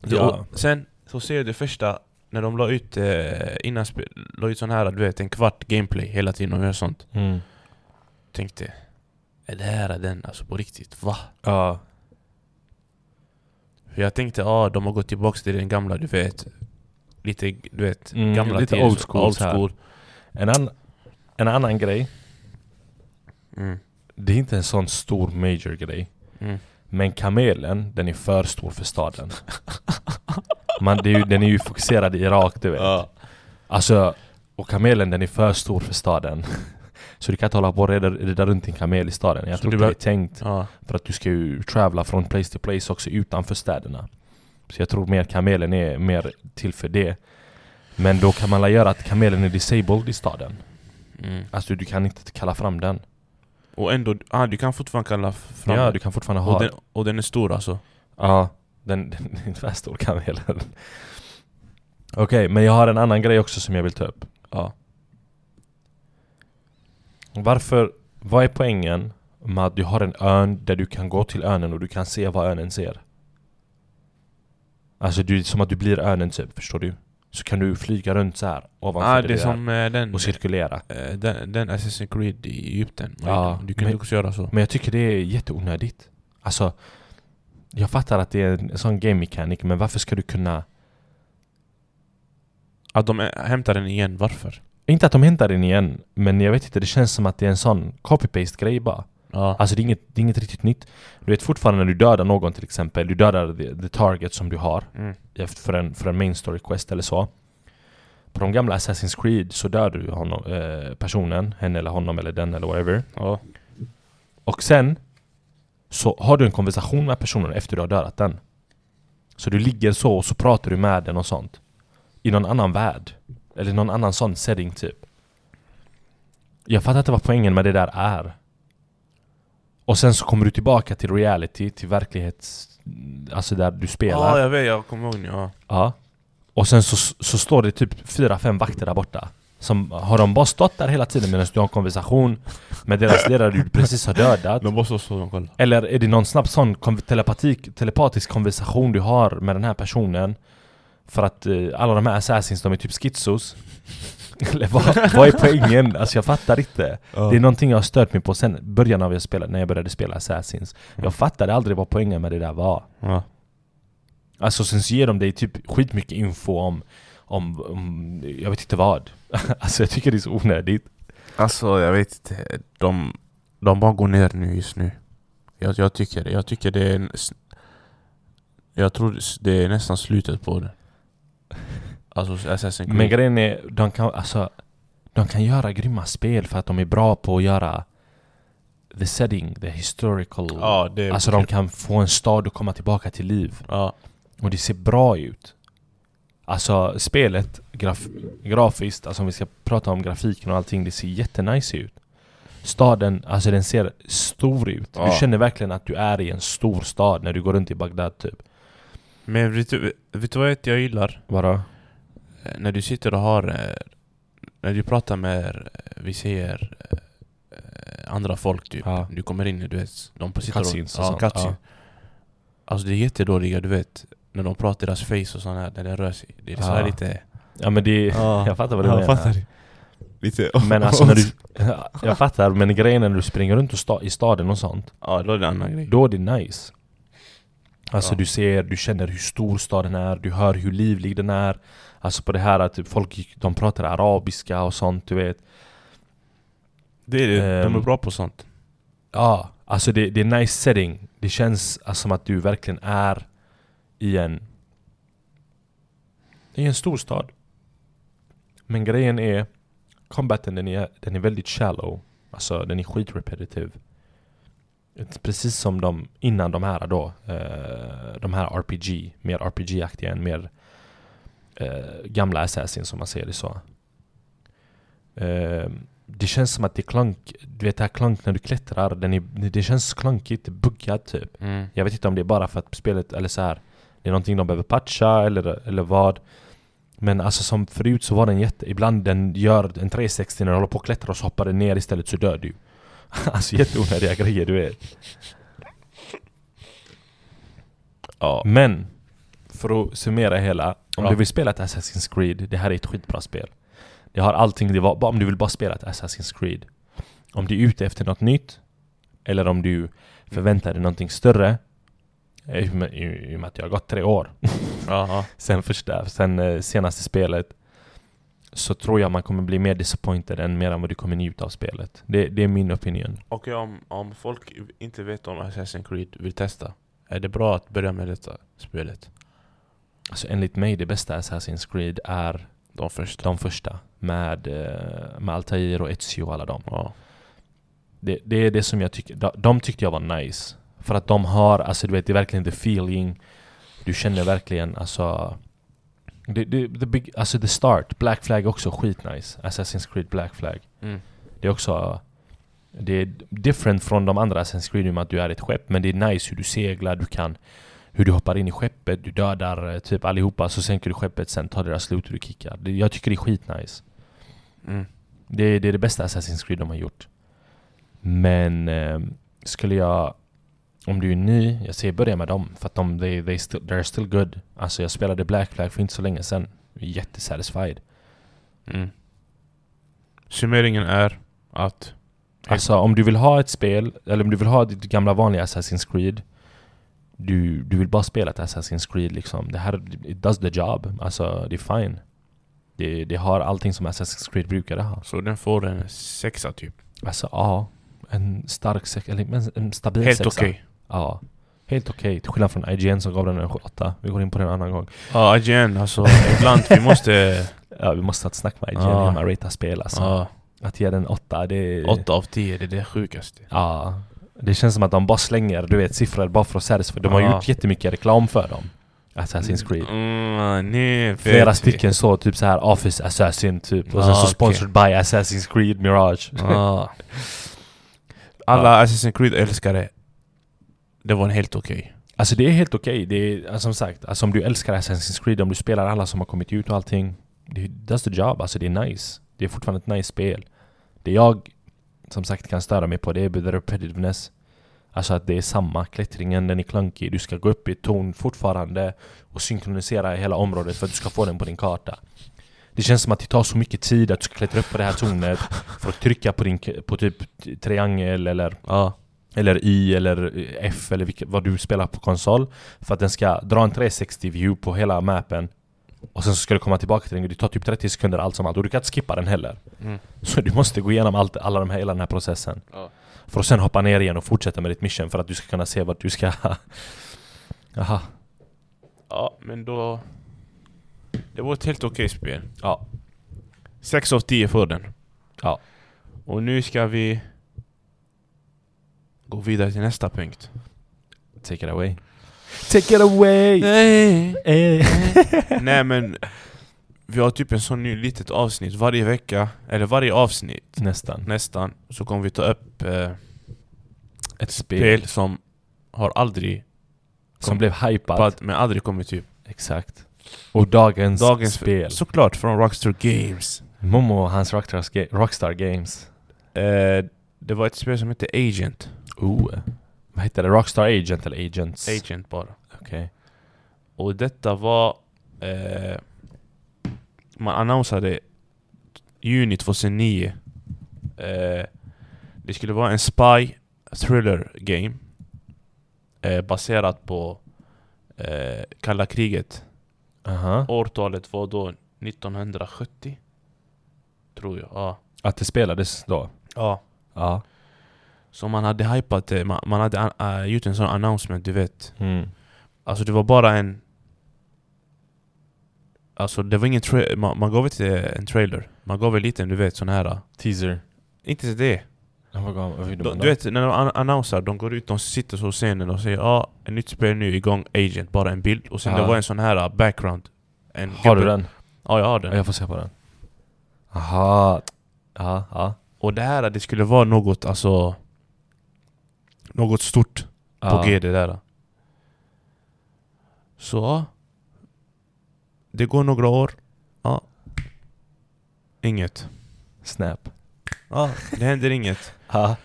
Det- Ja. och Sen så ser jag det första När de la ut eh, innan spe- la ut sån här du vet en kvart gameplay hela tiden och gör sånt Mm. Tänkte Är det här är den alltså på riktigt? Va? Ja. För jag tänkte ah, de har gått tillbaks till den gamla du vet Lite du vet Mm, gamla lite tider, old school old så här. school. En, an, en annan grej. Mm. Det är inte en sån stor major grej. Mm. Men kamelen, den är för stor för staden. Man, det är ju, den är ju fokuserad i Irak, du vet. Ja. Alltså, och kamelen den är för stor för staden. Så du kan inte hålla på och rida, rida runt din kamel i staden. Jag Så tror du inte det är behöver- tänkt Ja. för att du ska ju travla från place till place också utanför städerna. Så jag tror mer kamelen är mer till för det. Men då kan man la göra att kamelen är disabled i staden. Mm. Alltså du kan inte kalla fram den. Och ändå, ah, du kan fortfarande kalla fram Ja, du kan fortfarande ha... och, den, och den är stor alltså? Ja, den, den [LAUGHS] är inte för stor kamelen. Okej, men jag har en annan grej också som jag vill ta upp. Ja. Varför, vad är poängen med att du har en örn där du kan gå till örnen och du kan se vad örnen ser? Alltså du, som att du blir örnen typ, förstår du? Så kan du flyga runt så här ovanför Ah, det det är där som eh, den, och cirkulera. eh, den, den Assassin's Creed i Egypten. Ja, du kunde men- också göra så. Men jag tycker det är jätteonödigt. Alltså, jag fattar att det är en sån game mechanic, men varför ska du kunna... Att de eh, hämtar den igen, varför? Inte att de hämtar den igen, men jag vet inte, det känns som att det är en sån copy-paste grej bara. Ja. Alltså det är, inget, det är inget riktigt nytt. Du vet fortfarande när du dödar någon till exempel, du dödar the, the target som du har Mm. efter- för en, för en main story quest eller så. På de gamla Assassin's Creed så dör du honom, eh, personen, henne eller honom eller den eller whatever. Ja. Och sen så har du en konversation med personen efter du har dödat den. Så du ligger så och så pratar du med den och sånt. I någon annan värld. Eller någon annan sån setting typ. Jag fattar inte vad poängen med det där är. Och sen så kommer du tillbaka till reality, till verklighets... Alltså där du spelar. ja, jag vet, jag kommer ihåg nu. Ja. Ja. Och sen så, så står det typ fyra, fem vakter där borta. Som har de bara stått där hela tiden medan du har en konversation med deras ledare du precis har dödat? De bara så så de kollar. Eller är det någon snabb sån kon- telepatik, telepatisk konversation du har med den här personen? För att eh, alla de här assassins, de är typ schizos. [LAUGHS] Eller vad, vad är poängen? Alltså jag fattar inte. Ja. Det är någonting jag har stört mig på sen början av jag spelade, när jag började spela assassins. Jag fattade aldrig vad poängen med det där var. Ja. Alltså sen så ger de dig typ skitmycket info om, om, om jag vet inte vad. [LAUGHS] alltså jag tycker det är så onödigt. Alltså jag vet inte, de, de bara går ner nu just nu. Jag, jag tycker det. Jag tycker det är... en s- Jag tror det är nästan slutet på det. Alltså Assassin's Creed. Men grejen är, de kan, alltså, de kan göra grymma spel för att de är bra på att göra the setting, the historical. ja, det är alltså de kan få en stad att komma tillbaka till liv. ja. Och det ser bra ut. Alltså spelet, graf, grafiskt, alltså om vi ska prata om grafiken och allting, det ser jättenice ut. Staden, alltså den ser stor ut. Ja. Du känner verkligen att du är i en stor stad när du går runt i Bagdad typ. Men vet du, vet du vad jag gillar? Vadå? Eh, När du sitter och har... eh, När du pratar med, eh, vi säger, eh, andra folk typ. Ja. Du kommer in, du vet, de på sitter Cutscenes och och... sånt, cutscene. Alltså det är jättedåliga, du vet. När de pratar deras face och sånt här, när det rör sig. Det är så här Ja. lite... Ja men det, [LAUGHS] jag fattar vad du menar. Lite... [LAUGHS] Men alltså när du... Jag fattar, men grejen är när du springer runt och sta, i staden och sånt, Ja, då är det en annan grej. då är det nice. Alltså Ja. du ser, du känner hur stor staden är, du hör hur livlig den är. Alltså på det här att typ folk gick- de pratar arabiska och sånt, du vet. Det är det. De är Ehm. bra på sånt. Ja, alltså det, det är nice setting. Det känns alltså, som att du verkligen är i en... I en stor stad. Men grejen är, combaten den är, den är väldigt shallow. Alltså den är skitrepetitiv. Ett- Precis som de innan de här då. eh, de här RPG, mer RPG-aktiga än mer eh, gamla Assassins som man säger det så. Eh, det känns som att det är klunk, du vet det här klunk när du klättrar, den är, det känns klunkigt, buggat typ. Mm. Jag vet inte om det är bara för att spelet, eller så här det är någonting de behöver patcha eller, eller vad. Men alltså som förut så var den jätte, ibland den gör en 360 när den håller på att klättra och så hoppar den ner istället så dör du. [LAUGHS] alltså jätteonödiga grejer du vet. Ja. Men, för att summera hela. Om Ja. du vill spela ett Assassin's Creed, det här är ett skitbra spel. Det har allting, det var, bara om du vill bara spela ett Assassin's Creed. Om du är ute efter något nytt, eller om du förväntar dig någonting större. eh, I och med- i- i och med att jag har gått tre år Ja, sen, första, sen eh, senaste spelet så tror jag man kommer bli mer disappointed än mer än vad du kommer njuta av spelet. Det, det är min opinion. Okej, om, om folk inte vet om Assassin's Creed vill testa, är det bra att börja med detta spelet? Alltså enligt mig det bästa Assassin's Creed är De första? de första med, eh, med Altair och Ezio och alla dem. Ja. Det, det är det som jag tycker, de, de tyckte jag var nice. För att de har, alltså du vet, det är verkligen the feeling. Du känner verkligen alltså... Det, det, the big, alltså the start, Black Flag också skitnice. Assassin's Creed Black Flag. Mm. Det är också... Det är different från de andra Assassin's Creed i och med att du är ett skepp, men det är nice hur du seglar, du kan... Hur du hoppar in i skeppet, du dödar eh, typ allihopa, så sänker du skeppet, sen tar deras loot och du kickar. Det, jag tycker det är skitnice. Mm. Det, är- det är det bästa Assassin's Creed de har gjort. Men eh, skulle jag... Om du är ny, jag säger börja med dem. För att de, they, they still, they're still good. Alltså jag spelade Black Flag för inte så länge sedan. Jättesatisfied. Mm. Summeringen är att... Alltså om du vill ha ett spel, eller om du vill ha ditt gamla vanliga Assassin's Creed. Du, du vill bara spela ett Assassin's Creed liksom. Det här, it does the job. Alltså det är fine. Det, det har allting som Assassin's Creed brukade ha. Så den får en sexa typ. Alltså ja, en stark sex, eller en- en stabil Helt sexa. okej. Ja. Helt okej, till skillnad från IGN som gav den en 8. Vi går in på den en annan gång. Ja, IGN alltså. ibland vi [LAUGHS] måste... Ja, vi måste ha ett snack med IGN Ja. när man ratear spel alltså. Ja, Att ge den 8, det är... 8 av 10, det är det sjukaste. Ja. Det känns som att de bara slänger, du vet, siffror bara för att satisfy. De har Ja. gjort jättemycket reklam för dem. Assassin's Creed. Mm, ni vet Flera vi. stycken så, typ så här Office Assassin typ. Och Ja, sen så Ah, okej. Ah. sponsored by Assassin's Creed Mirage. [LAUGHS] Ja. Alla Assassin's Creed älskare. Det var en helt okej. Alltså det är helt okej. Det är alltså, som sagt, alltså, om du älskar Assassin's Creed, om du spelar alla som har kommit ut och allting. Det does the job. Alltså det är nice. Det är fortfarande ett nice spel. Det jag som sagt kan störa mig på det är the repetitiveness. Alltså att det är samma, klättringen den är klunkig. Du ska gå upp i ett torn fortfarande och synkronisera hela området för att du ska få den på din karta. Det känns som att det tar så mycket tid att du ska klättra upp på det här tornet för att trycka på, din, k- på typ triangel eller Ja. eller I eller eh, F eller vilket, vad du spelar på konsol För att den ska dra en 360 view på hela mappen Och sen så ska du komma tillbaka till den, det tar typ 30 sekunder allt som allt och du kan inte skippa den heller Mm. Så du måste gå igenom allt, alla de här, hela den här processen Ja. För att sen hoppa ner igen och fortsätta med ditt mission för att du ska [LAUGHS] kunna se vart du ska Jaha, Ja, men då... Det var ett helt okej spel. Ja. 6 av 10 för den. Ja. Och nu ska vi gå vidare till nästa punkt. Take it away. Take it away! Nej! Eh. Nej men, vi har typ en sån ny litet avsnitt varje vecka, eller varje avsnitt Nästan. nästan, så kommer vi ta upp eh, Ett spel, spel som har aldrig, som blev hypat. pad, men aldrig kommit typ. Exakt. Och dagens, Dagens spel. Såklart från Rockstar Games. Momo och hans Rockstar, Ga- Rockstar Games. Eh, det var ett spel som hette Agent. Ooh. Vad heter det? Rockstar Agent eller Agents? Agent bara. Okej. Och detta var... Eh, man annonsade juni 2009. Eh, det skulle vara en spy thriller game. Eh, baserat på eh, kalla kriget. Aha. Årtalet var då 1970. Tror jag. Ja. Att det spelades då? ja. Ja. Så man hade hypat det. Man, man hade an- äh, gjort en sån announcement, du vet. Mm. Alltså det var bara en... Alltså det var ingen tra- man, man gav inte en trailer. Man gav en liten, du vet, sån här... äh, Teaser. Inte ens det. Vad gav- vad gjorde De, man du vet, när de an- annonserar, de går ut, de sitter så på scenen och säger ja, ah, ett nytt spel nu, igång, agent, bara en bild. Och sen Ja. det var en sån här äh, background. En Har du gubbe. den? Ja, jag har Ja, den. jag får se på den. Aha. Ja, ja. Och det här, äh, det skulle vara något, alltså... Något stort. ja. på GD där. Så ja. Det går några år. Ja. Inget. Snap. Ja, det händer inget. Ja.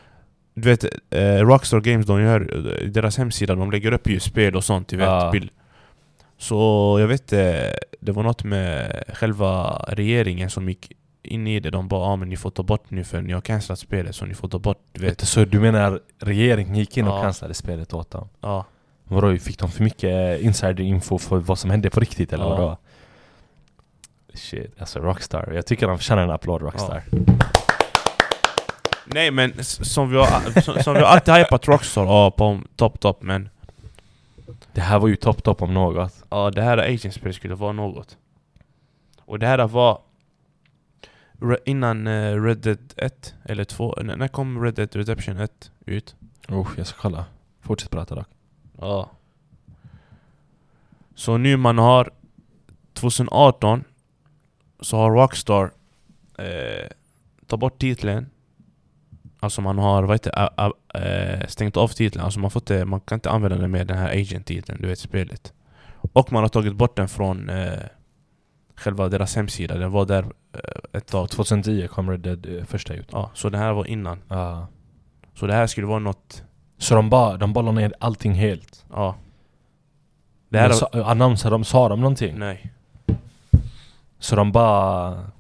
Du vet, eh, Rockstar Games, de gör, eh, deras hemsida, de lägger upp ju spel och sånt, du vet, Ja. bild. Så jag vet, eh, det var något med själva regeringen som gick in i det. De bara ah, men ni får ta bort nu för ni har cancelat spelet, så ni får ta bort, du vet. Så du menar regeringen gick in och Ja. cancellade spelet åt dem? Ja. Vadå, fick de för mycket eh, insiderinfo för vad som hände på riktigt eller Ja. vadå? Shit, alltså Rockstar. Jag tycker de förtjänar en applåd Rockstar. Nej men s- som vi har, som, som vi har alltid hypat Rockstar, ja, på topp, topp, men Det här var ju topp topp om något. Ja, det här agentspelet skulle vara något. Och det här var re- innan eh, Red Dead 1 eller 2. N- när kom Red Dead Redemption 1 ut? Uff, jag ska kolla. Fortsätt prata dock. Ja. Så nu man har 2018 så har Rockstar eh, tagit bort titeln. Alltså man har vad heter, a, a, eh, stängt av titeln. Alltså man, får inte, man kan inte använda den med den här agent-titeln, du vet spelet. Och man har tagit bort den från eh, själva deras hemsida. Den var där eh, ett tag. 2010 kom Red Dead eh, första ut. Ja, så det här var innan. Ja. Så det här skulle vara något... Så de bara, de bara la ner allting helt. Ja. Det Det här... här sa, annonserade de, sa de någonting? nej. Så de bara...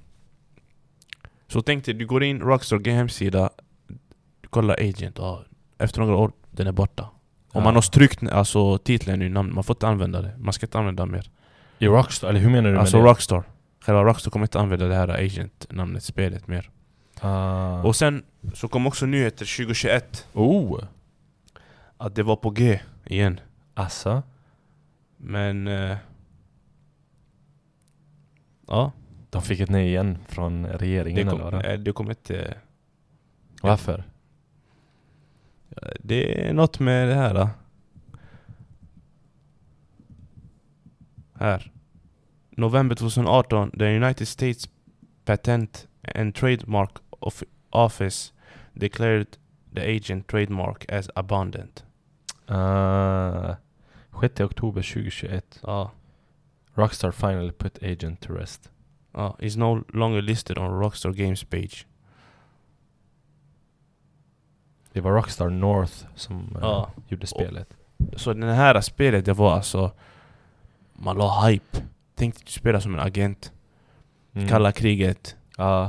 Så tänk dig, du går in Rockstar Games hemsida Du kollar Agent, ja, efter några år, den är borta Om Ja. man har strykt alltså, titeln nu, namn, man får inte använda det Man ska inte använda mer I Rockstar, eller hur menar du Alltså med det? Rockstar Själva Rockstar kommer inte använda det här Agent-namnet, spelet mer Ah. Och sen så kom också nyheter 2021 oh! Att det var på G igen Alltså? Men... Eh, ja, De fick ett nej igen från det regeringen eller kom, vad det eh, det kom inte... Varför? Det är något med det här. Då. Här. November 2018, the United States Patent and Trademark of Office declared the agent trademark as abundant. Ah. 6 oktober 2021 Ja. Rockstar finally put agent to rest. ja, is no longer listed on Rockstar Games page. Det var Rockstar North som eh, Ja. gjorde spelet. Så det här spelet, det var alltså... Man la hype. Tänk dig att spela som en agent. Mm. Kalla kriget. Ja.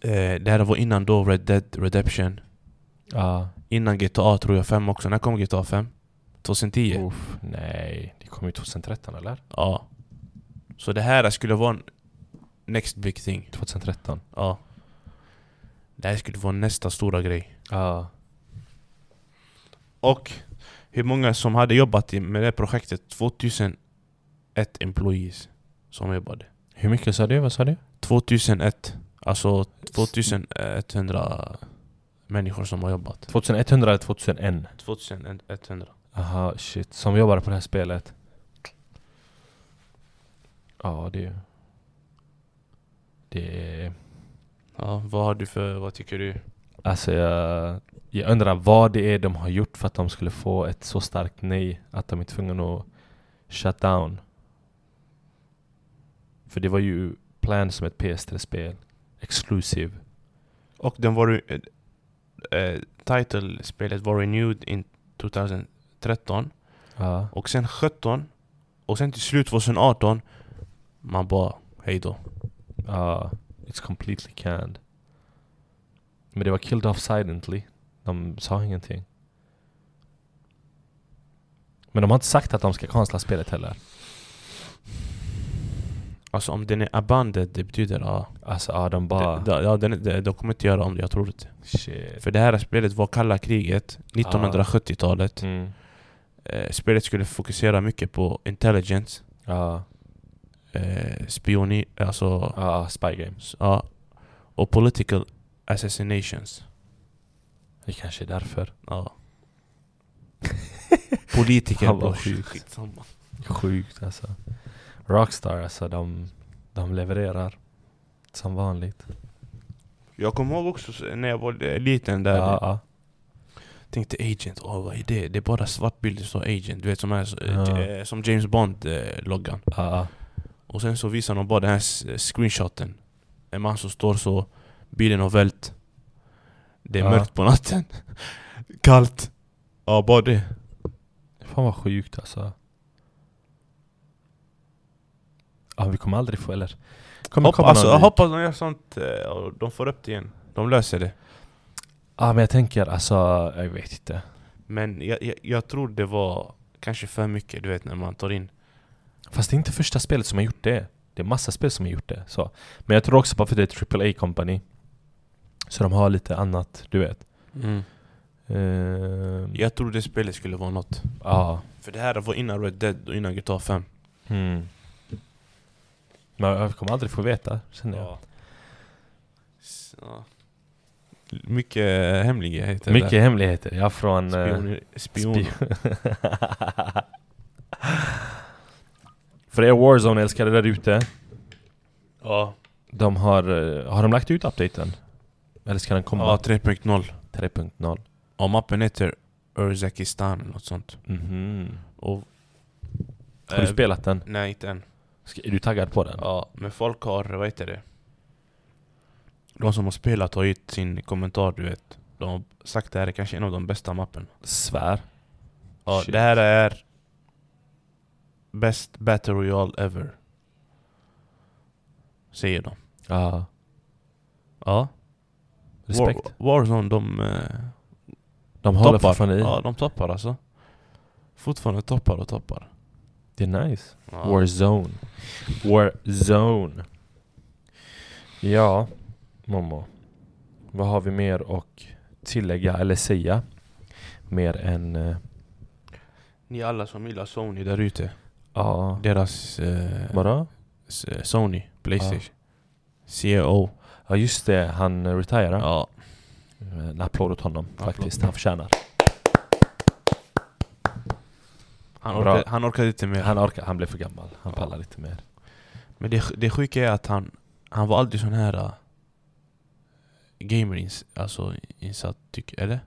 Eh, det här var innan då Red Dead Redemption. Ja. Innan GTA tror jag 5 också. När kom GTA 5? 2010? Uff, nej. Det kom ju 2013 eller? Ja. Så det här skulle vara en next big thing. 2013. Ja. Det här skulle vara nästa stora grej. Ja. Och hur många som hade jobbat i- med det projektet? 2001 employees. som är bara det. Hur mycket sa du? Vad sa du? 2001. Alltså 2100 människor som har jobbat. 2100 eller 2001? 2100. Aha, shit. Som jobbar på det här spelet. Ja, det... Det... Ja, vad har du för, vad tycker du? Alltså jag, jag undrar vad det är de har gjort för att de skulle få ett så starkt nej att de är tvungna att shut down. För det var ju plan som ett PS3-spel. Exclusive. Och den var ju... eh, eh, title-spelet var renewed in 2013 Ja. och sen 17 och sen till slut 2018 man bara hej då. Ja, Uh, it's completely canned. Men det var killed off silently. De sa ingenting. Men de har inte sagt att de ska kansla spelet heller. Alltså om den är abandoned, det betyder ja. Alltså ja, de bara... Det, det, ja den, det, de kommer inte göra om det, jag tror inte. shit. För det här spelet var kalla kriget, 1970-talet. Mm. Eh, spelet skulle fokusera mycket på intelligence, Ja, eh, spioni, alltså... ja, Spy Game. s- Ja. Och political assassinations. Det kanske är därför. Ja. Politiker Fan, vad bror. sjukt. Skitsamma. Sjukt alltså. Rockstar alltså, de, de levererar. Som vanligt. Jag kommer ihåg också s- när jag var eh, liten där. Ja, ja. Tänkte agent, åh vad är det? Det är bara svart bild det står agent. Du vet som, här, eh, Ja. J- eh, som James Bond-loggan. ja, Och sen så visar de bara den här s- eh, screenshoten. En man som står så, bilen har vält. Det är Ja. mörkt på natten. [LAUGHS] Kallt. Ja, bara det. ja. Fan vad sjukt alltså. Ja, vi kommer aldrig få, eller? Kommer Hopp, komma alltså, någon jag dit? hoppas de gör sånt eh, och de får upp det igen. De löser det. Ja men jag tänker alltså, jag vet inte. Men jag, jag, jag tror det var kanske för mycket, du vet när man tar in... Fast det är inte första spelet som har gjort det. Det är massa spel som har gjort det. Så. Men jag tror också bara för det är aaa company Så de har lite annat, du vet. Ehm, Jag tror det spelet skulle vara något. Ja. För det här var innan Red Dead och innan GTA 5. Mm. Men jag kommer aldrig få veta, känner jag. S- ja. Mycket hemligheter Mycket hemligheter. Ja, från... där. eh, Spioner. Spioner. spion- [LAUGHS] för er Warzone-älskare där ute. ja. De har... eh, Har de lagt ut updaten? Eller ska den komma? ja, 3.0. 3.0. Och mappen heter Urzakistan eller något sånt. Mhm. Och, Har du eh, spelat den? Nej, inte än. Ska, är du taggad på den? Ja, men folk har, vad heter det? De som har spelat har gett sin kommentar, du vet. De har sagt det här är kanske en av de bästa mappen. Svär. Ja, Shit. det här är bäst battle royale ever. Säger de. Ja. Ja. Respekt. War, Warzone, de eh, De håller toppar. fortfarande i. Ja, de toppar alltså. Fortfarande toppar och toppar. Det är nice. Ja. Warzone. Warzone. Ja, Momo. Vad har vi mer att tillägga eller säga? Mer än... eh, Ni alla som gillar Sony där ute. Ja. Deras eh, Vadå? s- eh, Sony, Playstation. CEO. E Ja just det, han eh, retirar. Ja. Eh, En applåd åt honom Applåd. faktiskt. Han förtjänar. Han, Bra. orkade, han orkade inte mer. Han orkar, han blev för gammal. Han Ja. pallar lite mer. Men det, det sjuka är att han, han var aldrig sån här uh, gamerins, alltså insatt, tyck, eller?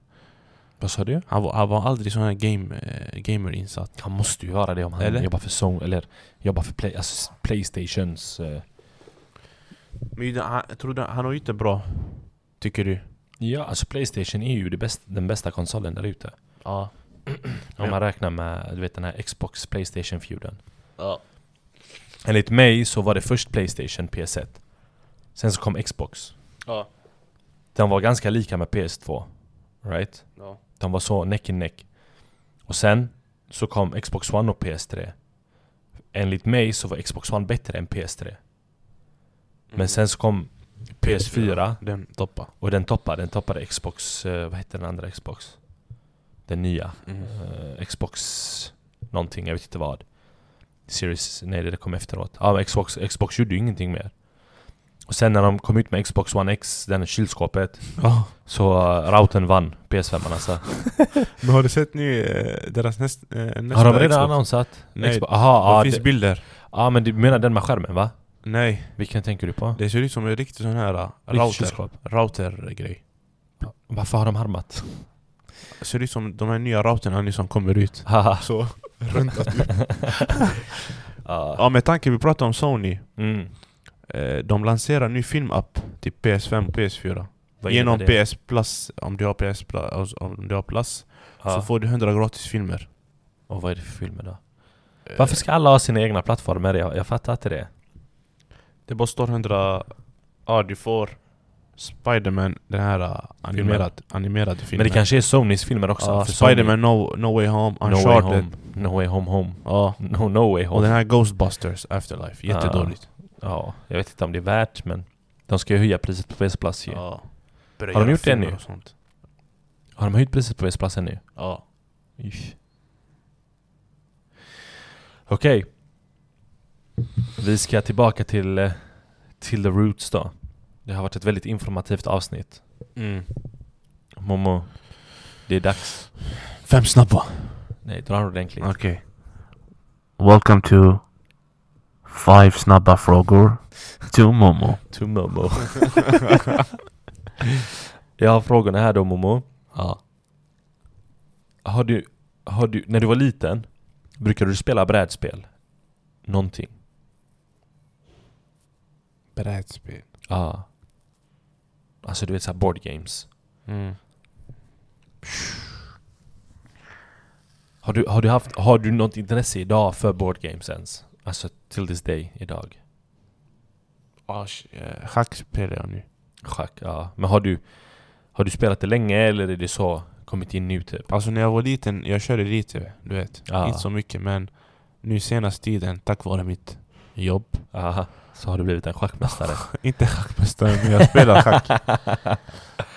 Vad sa du? Han var, han var aldrig sån här game, eh, gamerinsatt. Han måste ju göra det om han Eller? jobbar för Sony, eller jobbar för play, alltså Playstations... eh, Men det- han, jag trodde, han har ju inte bra, tycker du? Ja, alltså Playstation är ju det bäst, den bästa konsolen där ute. Ja. Om man räknar med du vet, den här Xbox Playstation feuden. ja. Enligt mig så var det först Playstation PS1. Sen så kom Xbox. Ja. Den var ganska lika med PS2. Right? ja. De var så neck in neck. Och sen så kom Xbox One och PS3. Enligt mig så var Xbox One bättre än PS3. Men sen så kom PS4 Mm. Den toppa. och den toppade, den toppade Xbox, eh, vad hette den andra Xbox? Den nya. Mm. eh, Xbox någonting, jag vet inte vad. Series, nej det kom efteråt. Ja, men Xbox, Xbox gjorde ju ingenting mer. Och sen när de kom ut med Xbox One X, den kylskåpet, Ja. så uh, routern vann PS5 alltså. Men har du sett nu eh, deras näst, eh, nästa Har de redan Xbox? annonsat? Nej, Xbox? Aha, det ja, finns det, bilder. ja, men du menar den med skärmen va? Nej, Vilken tänker du på? det ser ut som en riktig sån här eh, Vilket router, kylskåp? router-grej. Ja, Varför har de harmat? Ser ut som de här nya routerna nu som kommer ut. Haha. Så, runt att... Ja. Ja, med tanke vi pratade om Sony. Mm. Eh, de lanserar ny filmapp till PS5 och PS4. Vad innebär Genom det? PS Plus, om du har PS Plus, alltså, om du har Plus så Ja. får Eh. du 100 gratis filmer. Ah. Och vad är det för filmer då? Varför ska alla ha sina egna plattformar? Jag, jag fattar inte det. Eh, Det bara står 100... Ja, du får Spiderman, den här uh, animerad, animerade filmen. Men det kanske är Sonys filmer också? Ja, för Sony- Ah, Spiderman no, no Way Home, No Way Uncharted. Home, No Way Home Home. Ja. No, no Way Och Home. den här Ghostbusters Afterlife. Ja. Jättedåligt. Ja, jag vet inte om det är värt men de ska ju höja priset på PS Plus ju. Ja. Börja Har de göra gjort det filmer nu? och sånt. Har de höjt priset på PS Plus ännu? Ja. Ish. Okej. Vi ska tillbaka till, eh, till the roots då. Det har varit ett väldigt informativt avsnitt. Mm. Momo, det är dags. Fem snabba. Nej, dra den ordentligt. Okej. Welcome to Five snabba frågor to Momo. To Momo. [LAUGHS] jag har frågorna här då Momo. Ja. Har du, har du, när du var liten, brukade du spela brädspel? Någonting? Brädspel. Ja. Alltså du vet såhär board games. Mm. Har du, har, du haft, har du något intresse idag för board games ens? Alltså till this day, idag? Schack eh, spelar jag nu. Schack, ja. Men har du, har du spelat det länge eller är det så kommit in nu typ? Alltså när jag var liten, jag körde lite, du vet. Ja. Inte så mycket men nu senaste tiden, tack vare mitt [LAUGHS] jobb. Aha. Så har du blivit en schackmästare? Inte schackmästare, men jag spelar [LAUGHS] schack.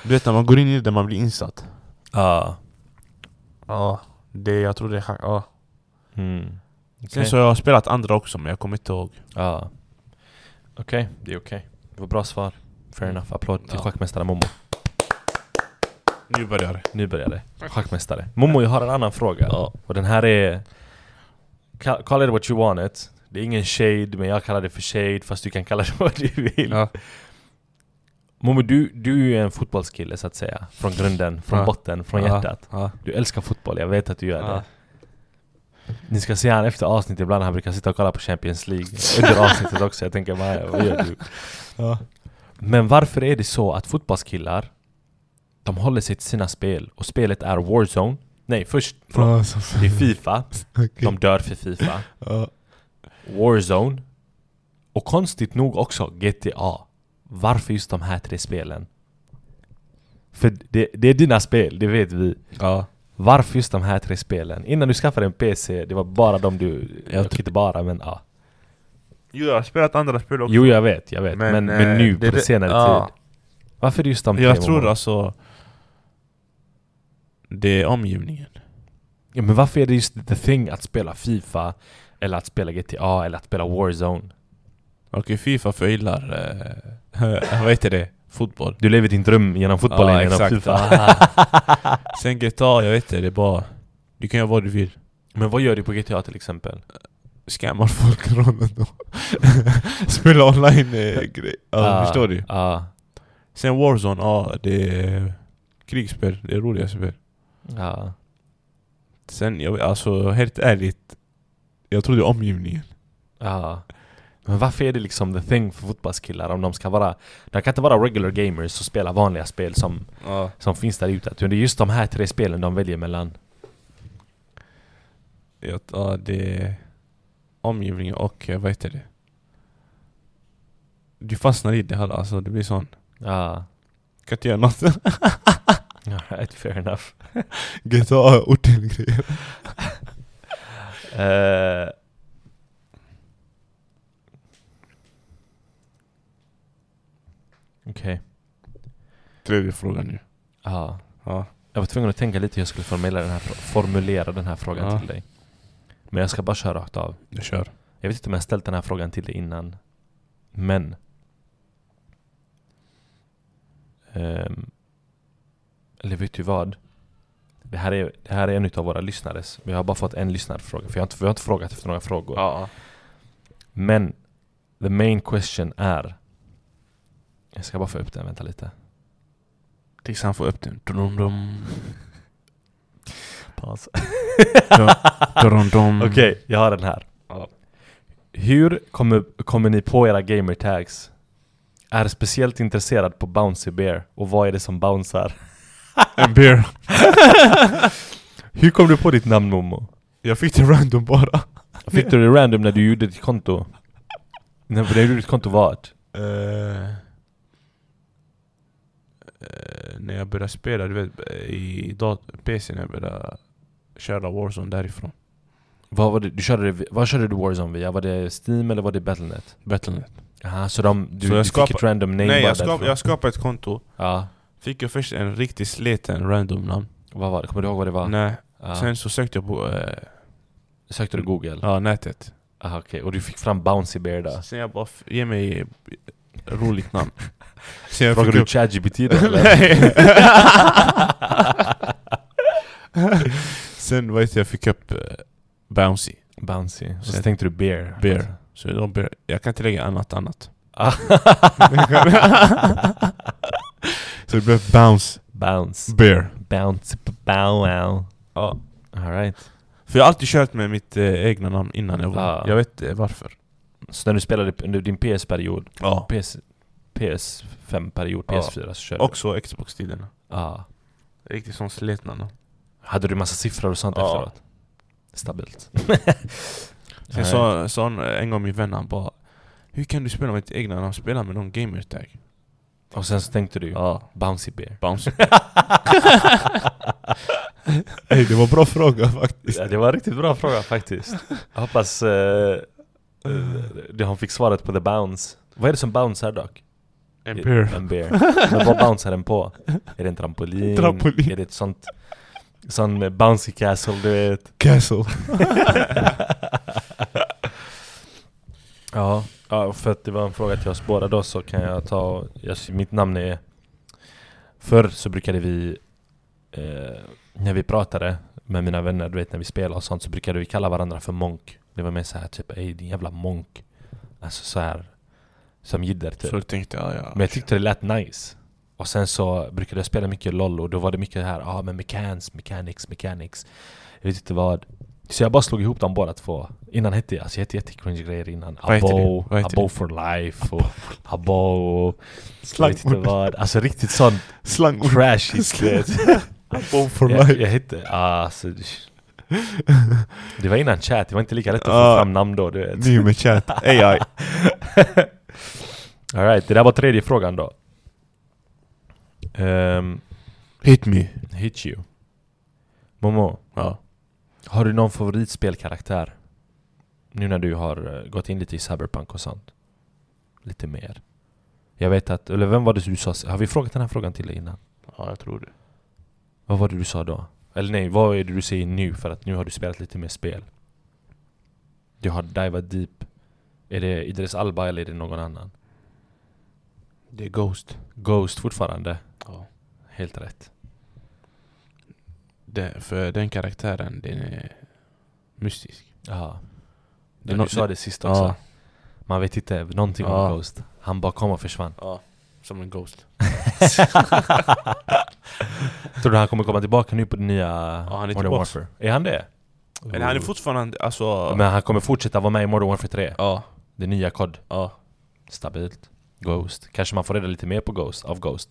du vet när man går in i det, man blir insatt. [LAUGHS] Ja. Ja. Det, jag tror det är schack. Ja. Mm. Sen så har jag spelat andra också men jag kommer inte ihåg. Ja. Okej, det är okej. Det var bra svar. Fair enough. Applåd till Ja. schackmästare Momo. Nu börjar det. Nu börjar det. Schackmästare. Momo, jag har en annan fråga. Och den här är... Ka- Call it what you want it. Det är ingen shade, men jag kallar det för shade fast du kan kalla det [LAUGHS] vad du vill. Ja. Momo, du, du är ju en fotbollskille så att säga. Från grunden, från Ja. botten, från Ja. hjärtat. Ja. Du älskar fotboll, jag vet att du gör Ja. det. Ni ska se han efter avsnittet ibland, han brukar sitta och kolla på Champions League under avsnittet också. Jag tänker Maja, vad gör du? Ja. Men varför är det så att fotbollskillar, de håller sig till sina spel och spelet är Warzone? Nej, först, förlåt. [LAUGHS] Det är Fifa. De dör för Fifa. Ja. Warzone. Och konstigt nog också GTA. Varför just de här tre spelen? För det, det är dina spel, det vet vi. ja. Varför just de här tre spelen? Innan du skaffade en PC, det var bara de du... Jag Jag inte bara, men ja. Jo, jag har spelat andra spel också. Jo, jag vet, jag vet. Men, men, eh, nu, det- på senare ja. tid. Varför är det just de tre? Jag tror Momo? alltså... Det är omgivningen. Ja, men varför är det just the thing att spela Fifa, eller att spela GTA, eller att spela Warzone? Och i Fifa för jag gillar... Eh, [LAUGHS] vad heter det? Fotboll. Du lever din dröm genom fotbollen, Ja, genom exakt. Fifa. Sen GTA, jag vet inte, det är bara... Du kan göra vad du vill. [LAUGHS] Men vad gör du på GTA till exempel? Scammar folk [LAUGHS] runt dem. Spela online-grej. eh, ja, Ah, förstår du? Ja. Sen Warzone, ja det är krigsspel. Det är roliga spel. Ja. Sen, jag, alltså helt ärligt. Jag tror det är omgivningen. Ja. Men varför är det liksom the thing för fotbollskillar om de ska vara... De kan inte vara regular gamers och spela vanliga spel som, Ja. som finns där ute. Utan det är just de här tre spelen de väljer mellan. Jag, ja, det är omgivningen och eh, vad heter det? Du fastnar i det här alltså, det blir sån. Ja. Kan inte göra något. Alright, fair enough. GTA orten-grejer. Eh. Okej. [LAUGHS] Tredje frågan nu. Ja. Ja. Jag var tvungen att tänka lite hur jag skulle formulera den här, frå- formulera den här frågan Ja. till dig. Men jag ska bara köra rakt av. Jag kör. Jag vet inte om jag har ställt den här frågan till dig innan. Men. Ehm, eller vet du vad? Det här är, det här är en av våra lyssnares. Vi har bara fått en lyssnarfråga. För jag har inte, vi har inte frågat efter några frågor. Ja. Men the main question är... Jag ska bara få upp den, vänta lite. Tills han får upp den. Dum, [LAUGHS] dum, Paus. dum, dum. Okej, jag har den här. Hur kommer, kommer ni på era gamertags? Är speciellt intresserad på Bouncy Bear och vad är det som bouncear? En beer. [LAUGHS] Hur kom du på ditt namn Momo? Jag fick det random bara. Fick du det random när du gjorde ditt konto? När när du gjorde ditt konto vart? Eh, eh, när jag började spela, du vet, i dat- PC när jag började köra Warzone därifrån. Vad, var det, du körde, det- vad körde du Warzone via? Var det Steam eller var det Battlenet? Battlenet. Aha, så de, du, Så jag du skapa- fick ett random name Nej, bara jag, skap- därifrån? jag skapade ett konto. Ja, Fick jag först en riktigt sliten random namn. vad var det? Kommer du ihåg vad det var? Nej. Ja. Sen så sökte jag på eh, Sökte du Google? ja, nätet. Aha, okej. Och du fick fram Bouncy Bear där? Sen jag bara, f- ge mig eh, roligt [LAUGHS] namn. Sen jag Frågar fick du upp... [LAUGHS] ChatGPT då eller? Nej. Sen vet jag, jag fick upp eh, Bouncy. Bouncy. Och så tänkte du Bear. Bear. Så de ber- jag kan inte lägga annat annat. Ah. så det blev bounce, [LAUGHS] Bounce. bear. Bounce. Bow wow. Ja. Alright. För jag har alltid kört med mitt eh, egna namn innan jag var. Ja. Jag vet eh, varför. Så när du spelade under din PS-period, Ja. PS, PS5-period, Ja. PS4 så körde du? Också Xbox-tiderna. Ja. Riktigt sån sletna namn. Hade du massa siffror och sånt Ja. efteråt? [LAUGHS] Stabilt. Sen sa, sa en- en gång min vän, han bara Hur kan du spela med ditt egna namn? Spela med någon gamertag. Och sen så tänkte du Ja. Bouncy [LAUGHS] Bear. [LAUGHS] Bounce. Ey, det var bra fråga faktiskt. Ja, det var en riktigt bra fråga faktiskt. Jag hoppas eh, eh, det- han fick svaret på the bounce. Vad är det som bouncear dock? En bear. En bear. Men vad bouncear den på? Är det en trampolin? Trampolin. Är det ett sånt... Sån eh, bouncy castle du vet? Castle. ja. ja, för att det var en fråga till oss båda då så kan jag ta... Jag, mitt namn är... Förr så brukade vi... Eh, när vi pratade med mina vänner, du vet när vi spelade och sånt så brukade vi kalla varandra för monk. Det var mer så här typ ey din jävla monk. Alltså så här Som jidder typ. Så tänkte jag, ja. Men jag tyckte det lät nice. Och sen så brukade jag spela mycket LOL och då var det mycket det här, ja ah, men mechans, mechanics, mechanics. Jag vet inte vad. Så jag bara slog ihop dem båda två. Innan hette jag, alltså jag hette jättecringe grejer innan. Vad heter Abo, du? Vad heter Abo for life och Abo och... Jag vet inte Slangord. vad. Alltså [LAUGHS] riktigt sån Slangord. trashigt. du vet. Bomb for [LAUGHS] Jag, life. jag hette, ah, [LAUGHS] alltså. det- Det var innan chat, det var inte lika lätt att Ah. få fram namn då du vet. Ny med chat. AI. Alright, det där var tredje frågan då. Ehm, Hit me. Hit you. Momo, Ja. har du någon favoritspelkaraktär? Nu när du har eh, gått in lite i Cyberpunk och sånt. Lite mer. Jag vet att, eller vem var det du sa? Har vi frågat den här frågan till dig innan? Ja, jag tror det. Vad var det du sa då? Eller nej, vad är det du säger nu? För att nu har du spelat lite mer spel. Du har divat deep. Är det Idris Alba eller är det någon annan? Det är Ghost. Ghost fortfarande. Ja. Helt rätt. Det, för den karaktären, den är mystisk. Det Ja. Det är du något- sa det sist ja. också. Man vet inte någonting Ja. om Ghost. Han bara kom [LAUGHS] och försvann. Ja, som en Ghost. Tror du han kommer komma tillbaka nu på den nya han är Modern tillbaka. Warfare? Är han det? Men han är fortfarande, alltså... Men han kommer fortsätta vara med i Modern Warfare 3? Ja, Det nya kod. ja. Stabilt. Ghost. Kanske man får reda lite mer på Ghost, av Ghost.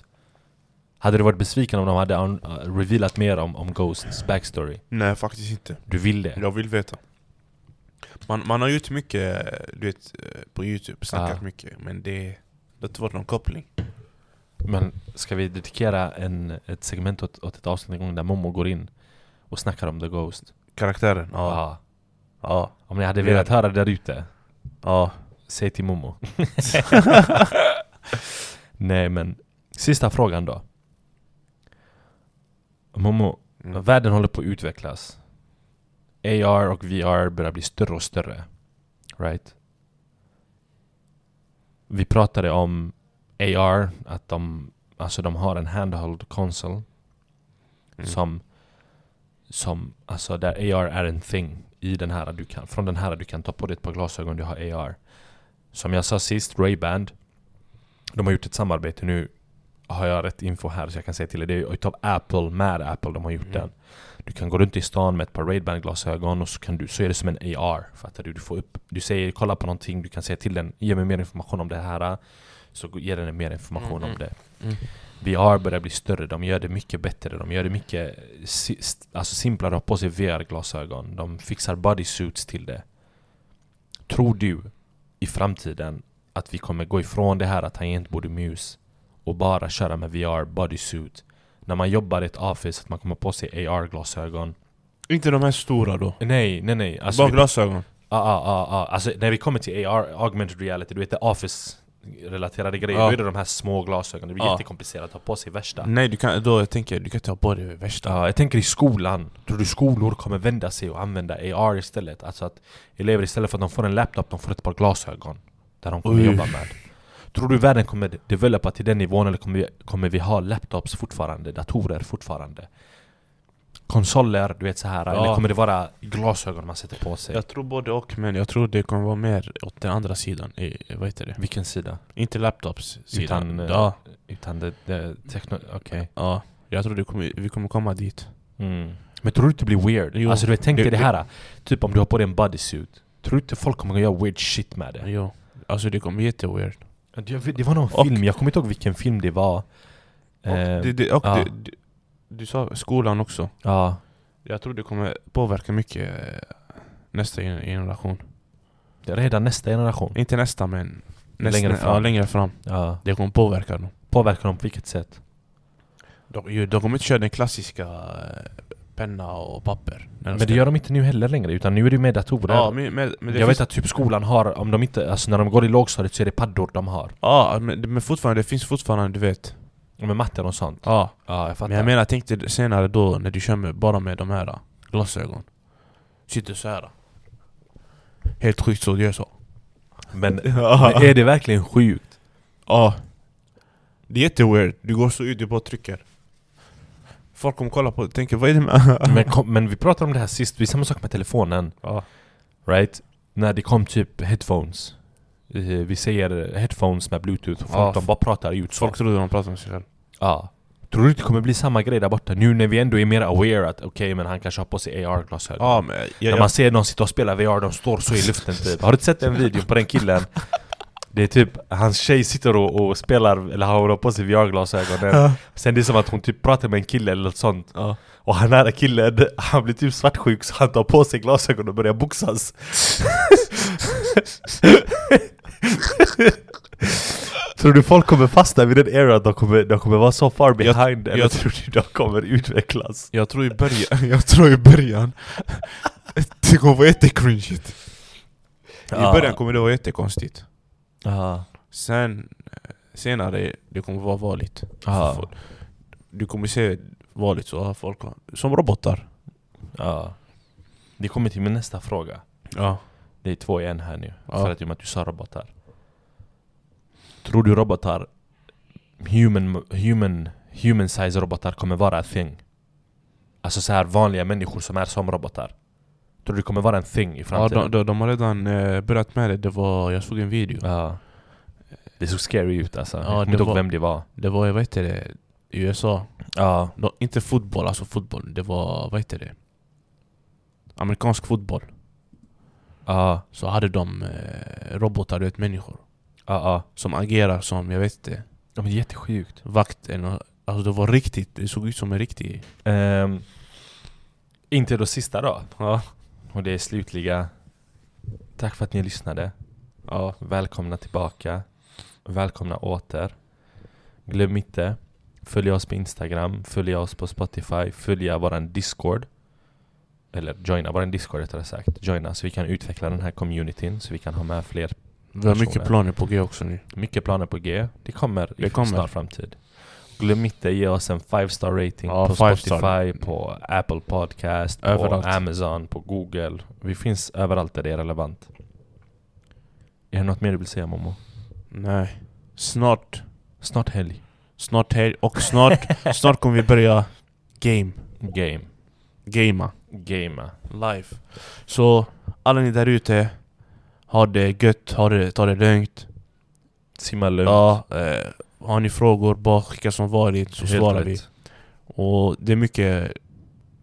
Hade du varit besviken om de hade un- uh, revealat mer om, om Ghosts backstory? Nej, faktiskt inte. Du vill det? Jag vill veta. Man, man har gjort mycket, du vet, eh, på Youtube, snackat Ja. mycket, men det, det har inte varit någon koppling. Men ska vi dedikera en, ett segment åt, åt ett avsnitt en gång där Momo går in och snackar om The Ghost? Karaktären? Ja. Ja. Ja. Om ni hade Ja. velat höra det där ute, Ja. Säg [LAUGHS] till Momo. [LAUGHS] Nej men, sista frågan då. Momo, Mm. världen håller på att utvecklas. AR och VR börjar bli större och större. right? Vi pratade om AR, att de, alltså de har en handheld console Mm. som, som, alltså där AR är en thing i den här du kan, från den här du kan ta på dig ett par glasögon, du har AR. Som jag sa sist, Ray-Ban, de har gjort ett samarbete nu, har jag rätt info här så jag kan säga till dig, det är utav Apple, med Apple, de har gjort Mm. den. Du kan gå runt i stan med ett par Ray-Ban glasögon och så, kan du, så är det som en AR, fattar du? Du får upp, du säger kolla på någonting, du kan säga till den, ge mig mer information om det här, så ger den dig mer information Mm, om det. Mm. VR börjar bli större, de gör det mycket bättre, de gör det mycket si- st- alltså simplare att ha på sig VR-glasögon. De fixar bodysuits till det. Tror du i framtiden att vi kommer gå ifrån det här att tangentbord och mus och bara köra med VR bodysuit? När man jobbar i ett office, att man kommer på sig AR-glasögon? Inte de här stora då. Nej, nej, nej. Alltså, Bara vi- glasögon. Ja, ja, ja, ja. Alltså när vi kommer till AR, augmented reality, du vet det office-relaterade grejer, Ja. då är det de här små glasögonen. Det blir Ja. jättekomplicerat att ha på sig värsta. Nej, du kan, då tänker jag, du kan ta på dig det värsta. Mm. Ja, jag tänker i skolan. Tror du skolor kommer vända sig och använda AR istället? Alltså att elever istället för att de får en laptop, de får ett par glasögon. Där de kommer Oj. jobba med. Tror du världen kommer developa till den nivån eller kommer vi, kommer vi ha laptops fortfarande? Datorer fortfarande? Konsoler, du vet så här. Eller Ja. kommer det vara glasögon man sätter på sig? Jag tror både och, men jag tror det kommer vara mer åt den andra sidan. I, vad heter det? Vilken sida? Inte laptops sidan. Utan, eh, ja. Utan det... det tekno... Okej. ja. Jag tror det kommer, vi kommer komma dit. Men tror du inte det blir weird? Jo. Alltså du vet, tänk Det- dig det det- här. Typ om du har på dig en bodysuit. Tror du inte folk kommer att göra weird shit med det? Jo. Alltså det kommer jätteweird. Ja, Det jag vet- det var någon Och- film, jag kommer inte ihåg vilken film det var. Och, Eh, det, det, och ja. det, det, du sa skolan också. ja. Jag tror det kommer påverka mycket eh, nästa gen- generation. Det är redan nästa generation. Inte nästa men nästa, Mm. Ja, Längre fram. längre fram. Ja. Det kommer påverka dem. Påverkar dem på vilket sätt? De, ju, de kommer inte köra den klassiska eh, penna och papper. när de Men ska- det gör de inte nu heller längre, utan nu är det med datorer. Ja, men, men, men det jag finns, vet att typ skolan har, om de inte, alltså när de går i lågstadiet så är det paddor de har. Ja, men, men fortfarande, det finns fortfarande, du vet. Och Med matten och sånt. Ja, Ja, jag fattar. men jag menar, tänk dig senare då när du kör med, bara med de här äh, glasögon. Sitter så här. Helt sjukt så, du gör så. men, men Ja. är det verkligen sjukt? ja. Det är jätteweird. Du går så ut, du bara trycker. Folk kommer kolla på det tänker vad är det med... Men, kom, men vi pratade om det här sist, det är samma sak med telefonen. ja. Right? När det kom typ headphones. Eh, Vi säger headphones med bluetooth och folk Ja. de bara pratar ut. så. Folk tror de pratar med sig själv. Ja. Tror du inte det kommer bli samma grej där borta? Nu när vi ändå är mer aware att okej, men han kanske har på sig AR-glasögon. Ja, men jag, när jag, man ser någon sitta och spela VR, de står så i luften typ. Har du inte sett den videon på den [LAUGHS] killen? Det är typ, hans tjej sitter och, och spelar, eller har på sig VR-glasögonen. Sen det är som att hon typ pratar med en kille eller något sånt. ja. Och han här killen, han blir typ svartsjuk så han tar på sig glasögon och [LAUGHS] börjar boxas. tror du folk kommer fastna vid den era? De kommer, de kommer vara så far behind? eller jag- tror du de kommer utvecklas? jag tror i [LAUGHS] början, jag tror i början Det kommer vara jättecringeigt I början kommer det vara jättekonstigt Ja. Sen eh, senare, det kommer vara vanligt Ja. För- Du kommer se vanligt så har folk Som robotar Ja. Det kommer till min nästa fråga. Ja Det är två i en här nu. Ja. För att, i och med att du sa robotar. Tror du robotar, human, human, human size robotar kommer vara a thing? Alltså så här vanliga människor som är som robotar. Tror du det kommer vara en thing i Ja, framtiden? de, de, de har redan eh, börjat med det, det var, jag såg en video Ja. Det såg scary ut alltså. Ja, jag kommer det inte ihåg var- vem det var. Det var, jag vet det, i USA Ja. de, Inte fotboll, alltså fotboll, det var, vad heter det? Amerikansk fotboll Ja. Så hade de eh, robotar, du vet människor Ja. ja. Som agerar som, jag vet inte Ja, men det är jättesjukt. vakt eller nå- Alltså det var riktigt, det såg ut som en riktig... Ehm, inte då sista då. Ja. Och det är slutliga. Tack för att ni lyssnade. ja. Välkomna tillbaka. Välkomna åter. Glöm inte, följ oss på Instagram, följ oss på Spotify, följa våran Discord. Eller joina våran Discord rättare sagt. Joina så vi kan utveckla den här communityn, så vi kan ha med fler. Vi har mycket Personer. planer på G också nu. Mycket planer på G. Det kommer i Det kommer. snar framtid. Glöm inte ge oss en 5-star rating Ja, på five Spotify, star. på Apple Podcast, Överallt. på Amazon, på Google. Vi finns överallt där det är relevant. Är det något mer du vill säga Momo? Nej. Snart. Snart helg. Snart helg. Och snart, [LAUGHS] snart kommer vi börja game. Game. Gamea. Gamea. Live. Så alla ni där ute. Ha det gött. Ha det, ta det lugnt. Simma lugnt. Ja, eh, har ni frågor, bara skicka som vanligt så Helt svarar rätt. vi. Och det är mycket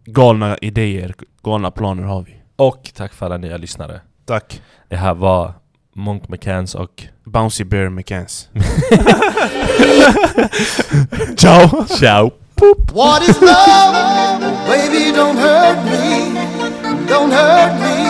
galna idéer, galna planer har vi. Och tack för alla nya lyssnare. Tack. Det här var Monk McCanns och... Bouncy Bear McCanns. Ciao! Ciao! What is love? Baby, don't hurt me. Don't hurt me.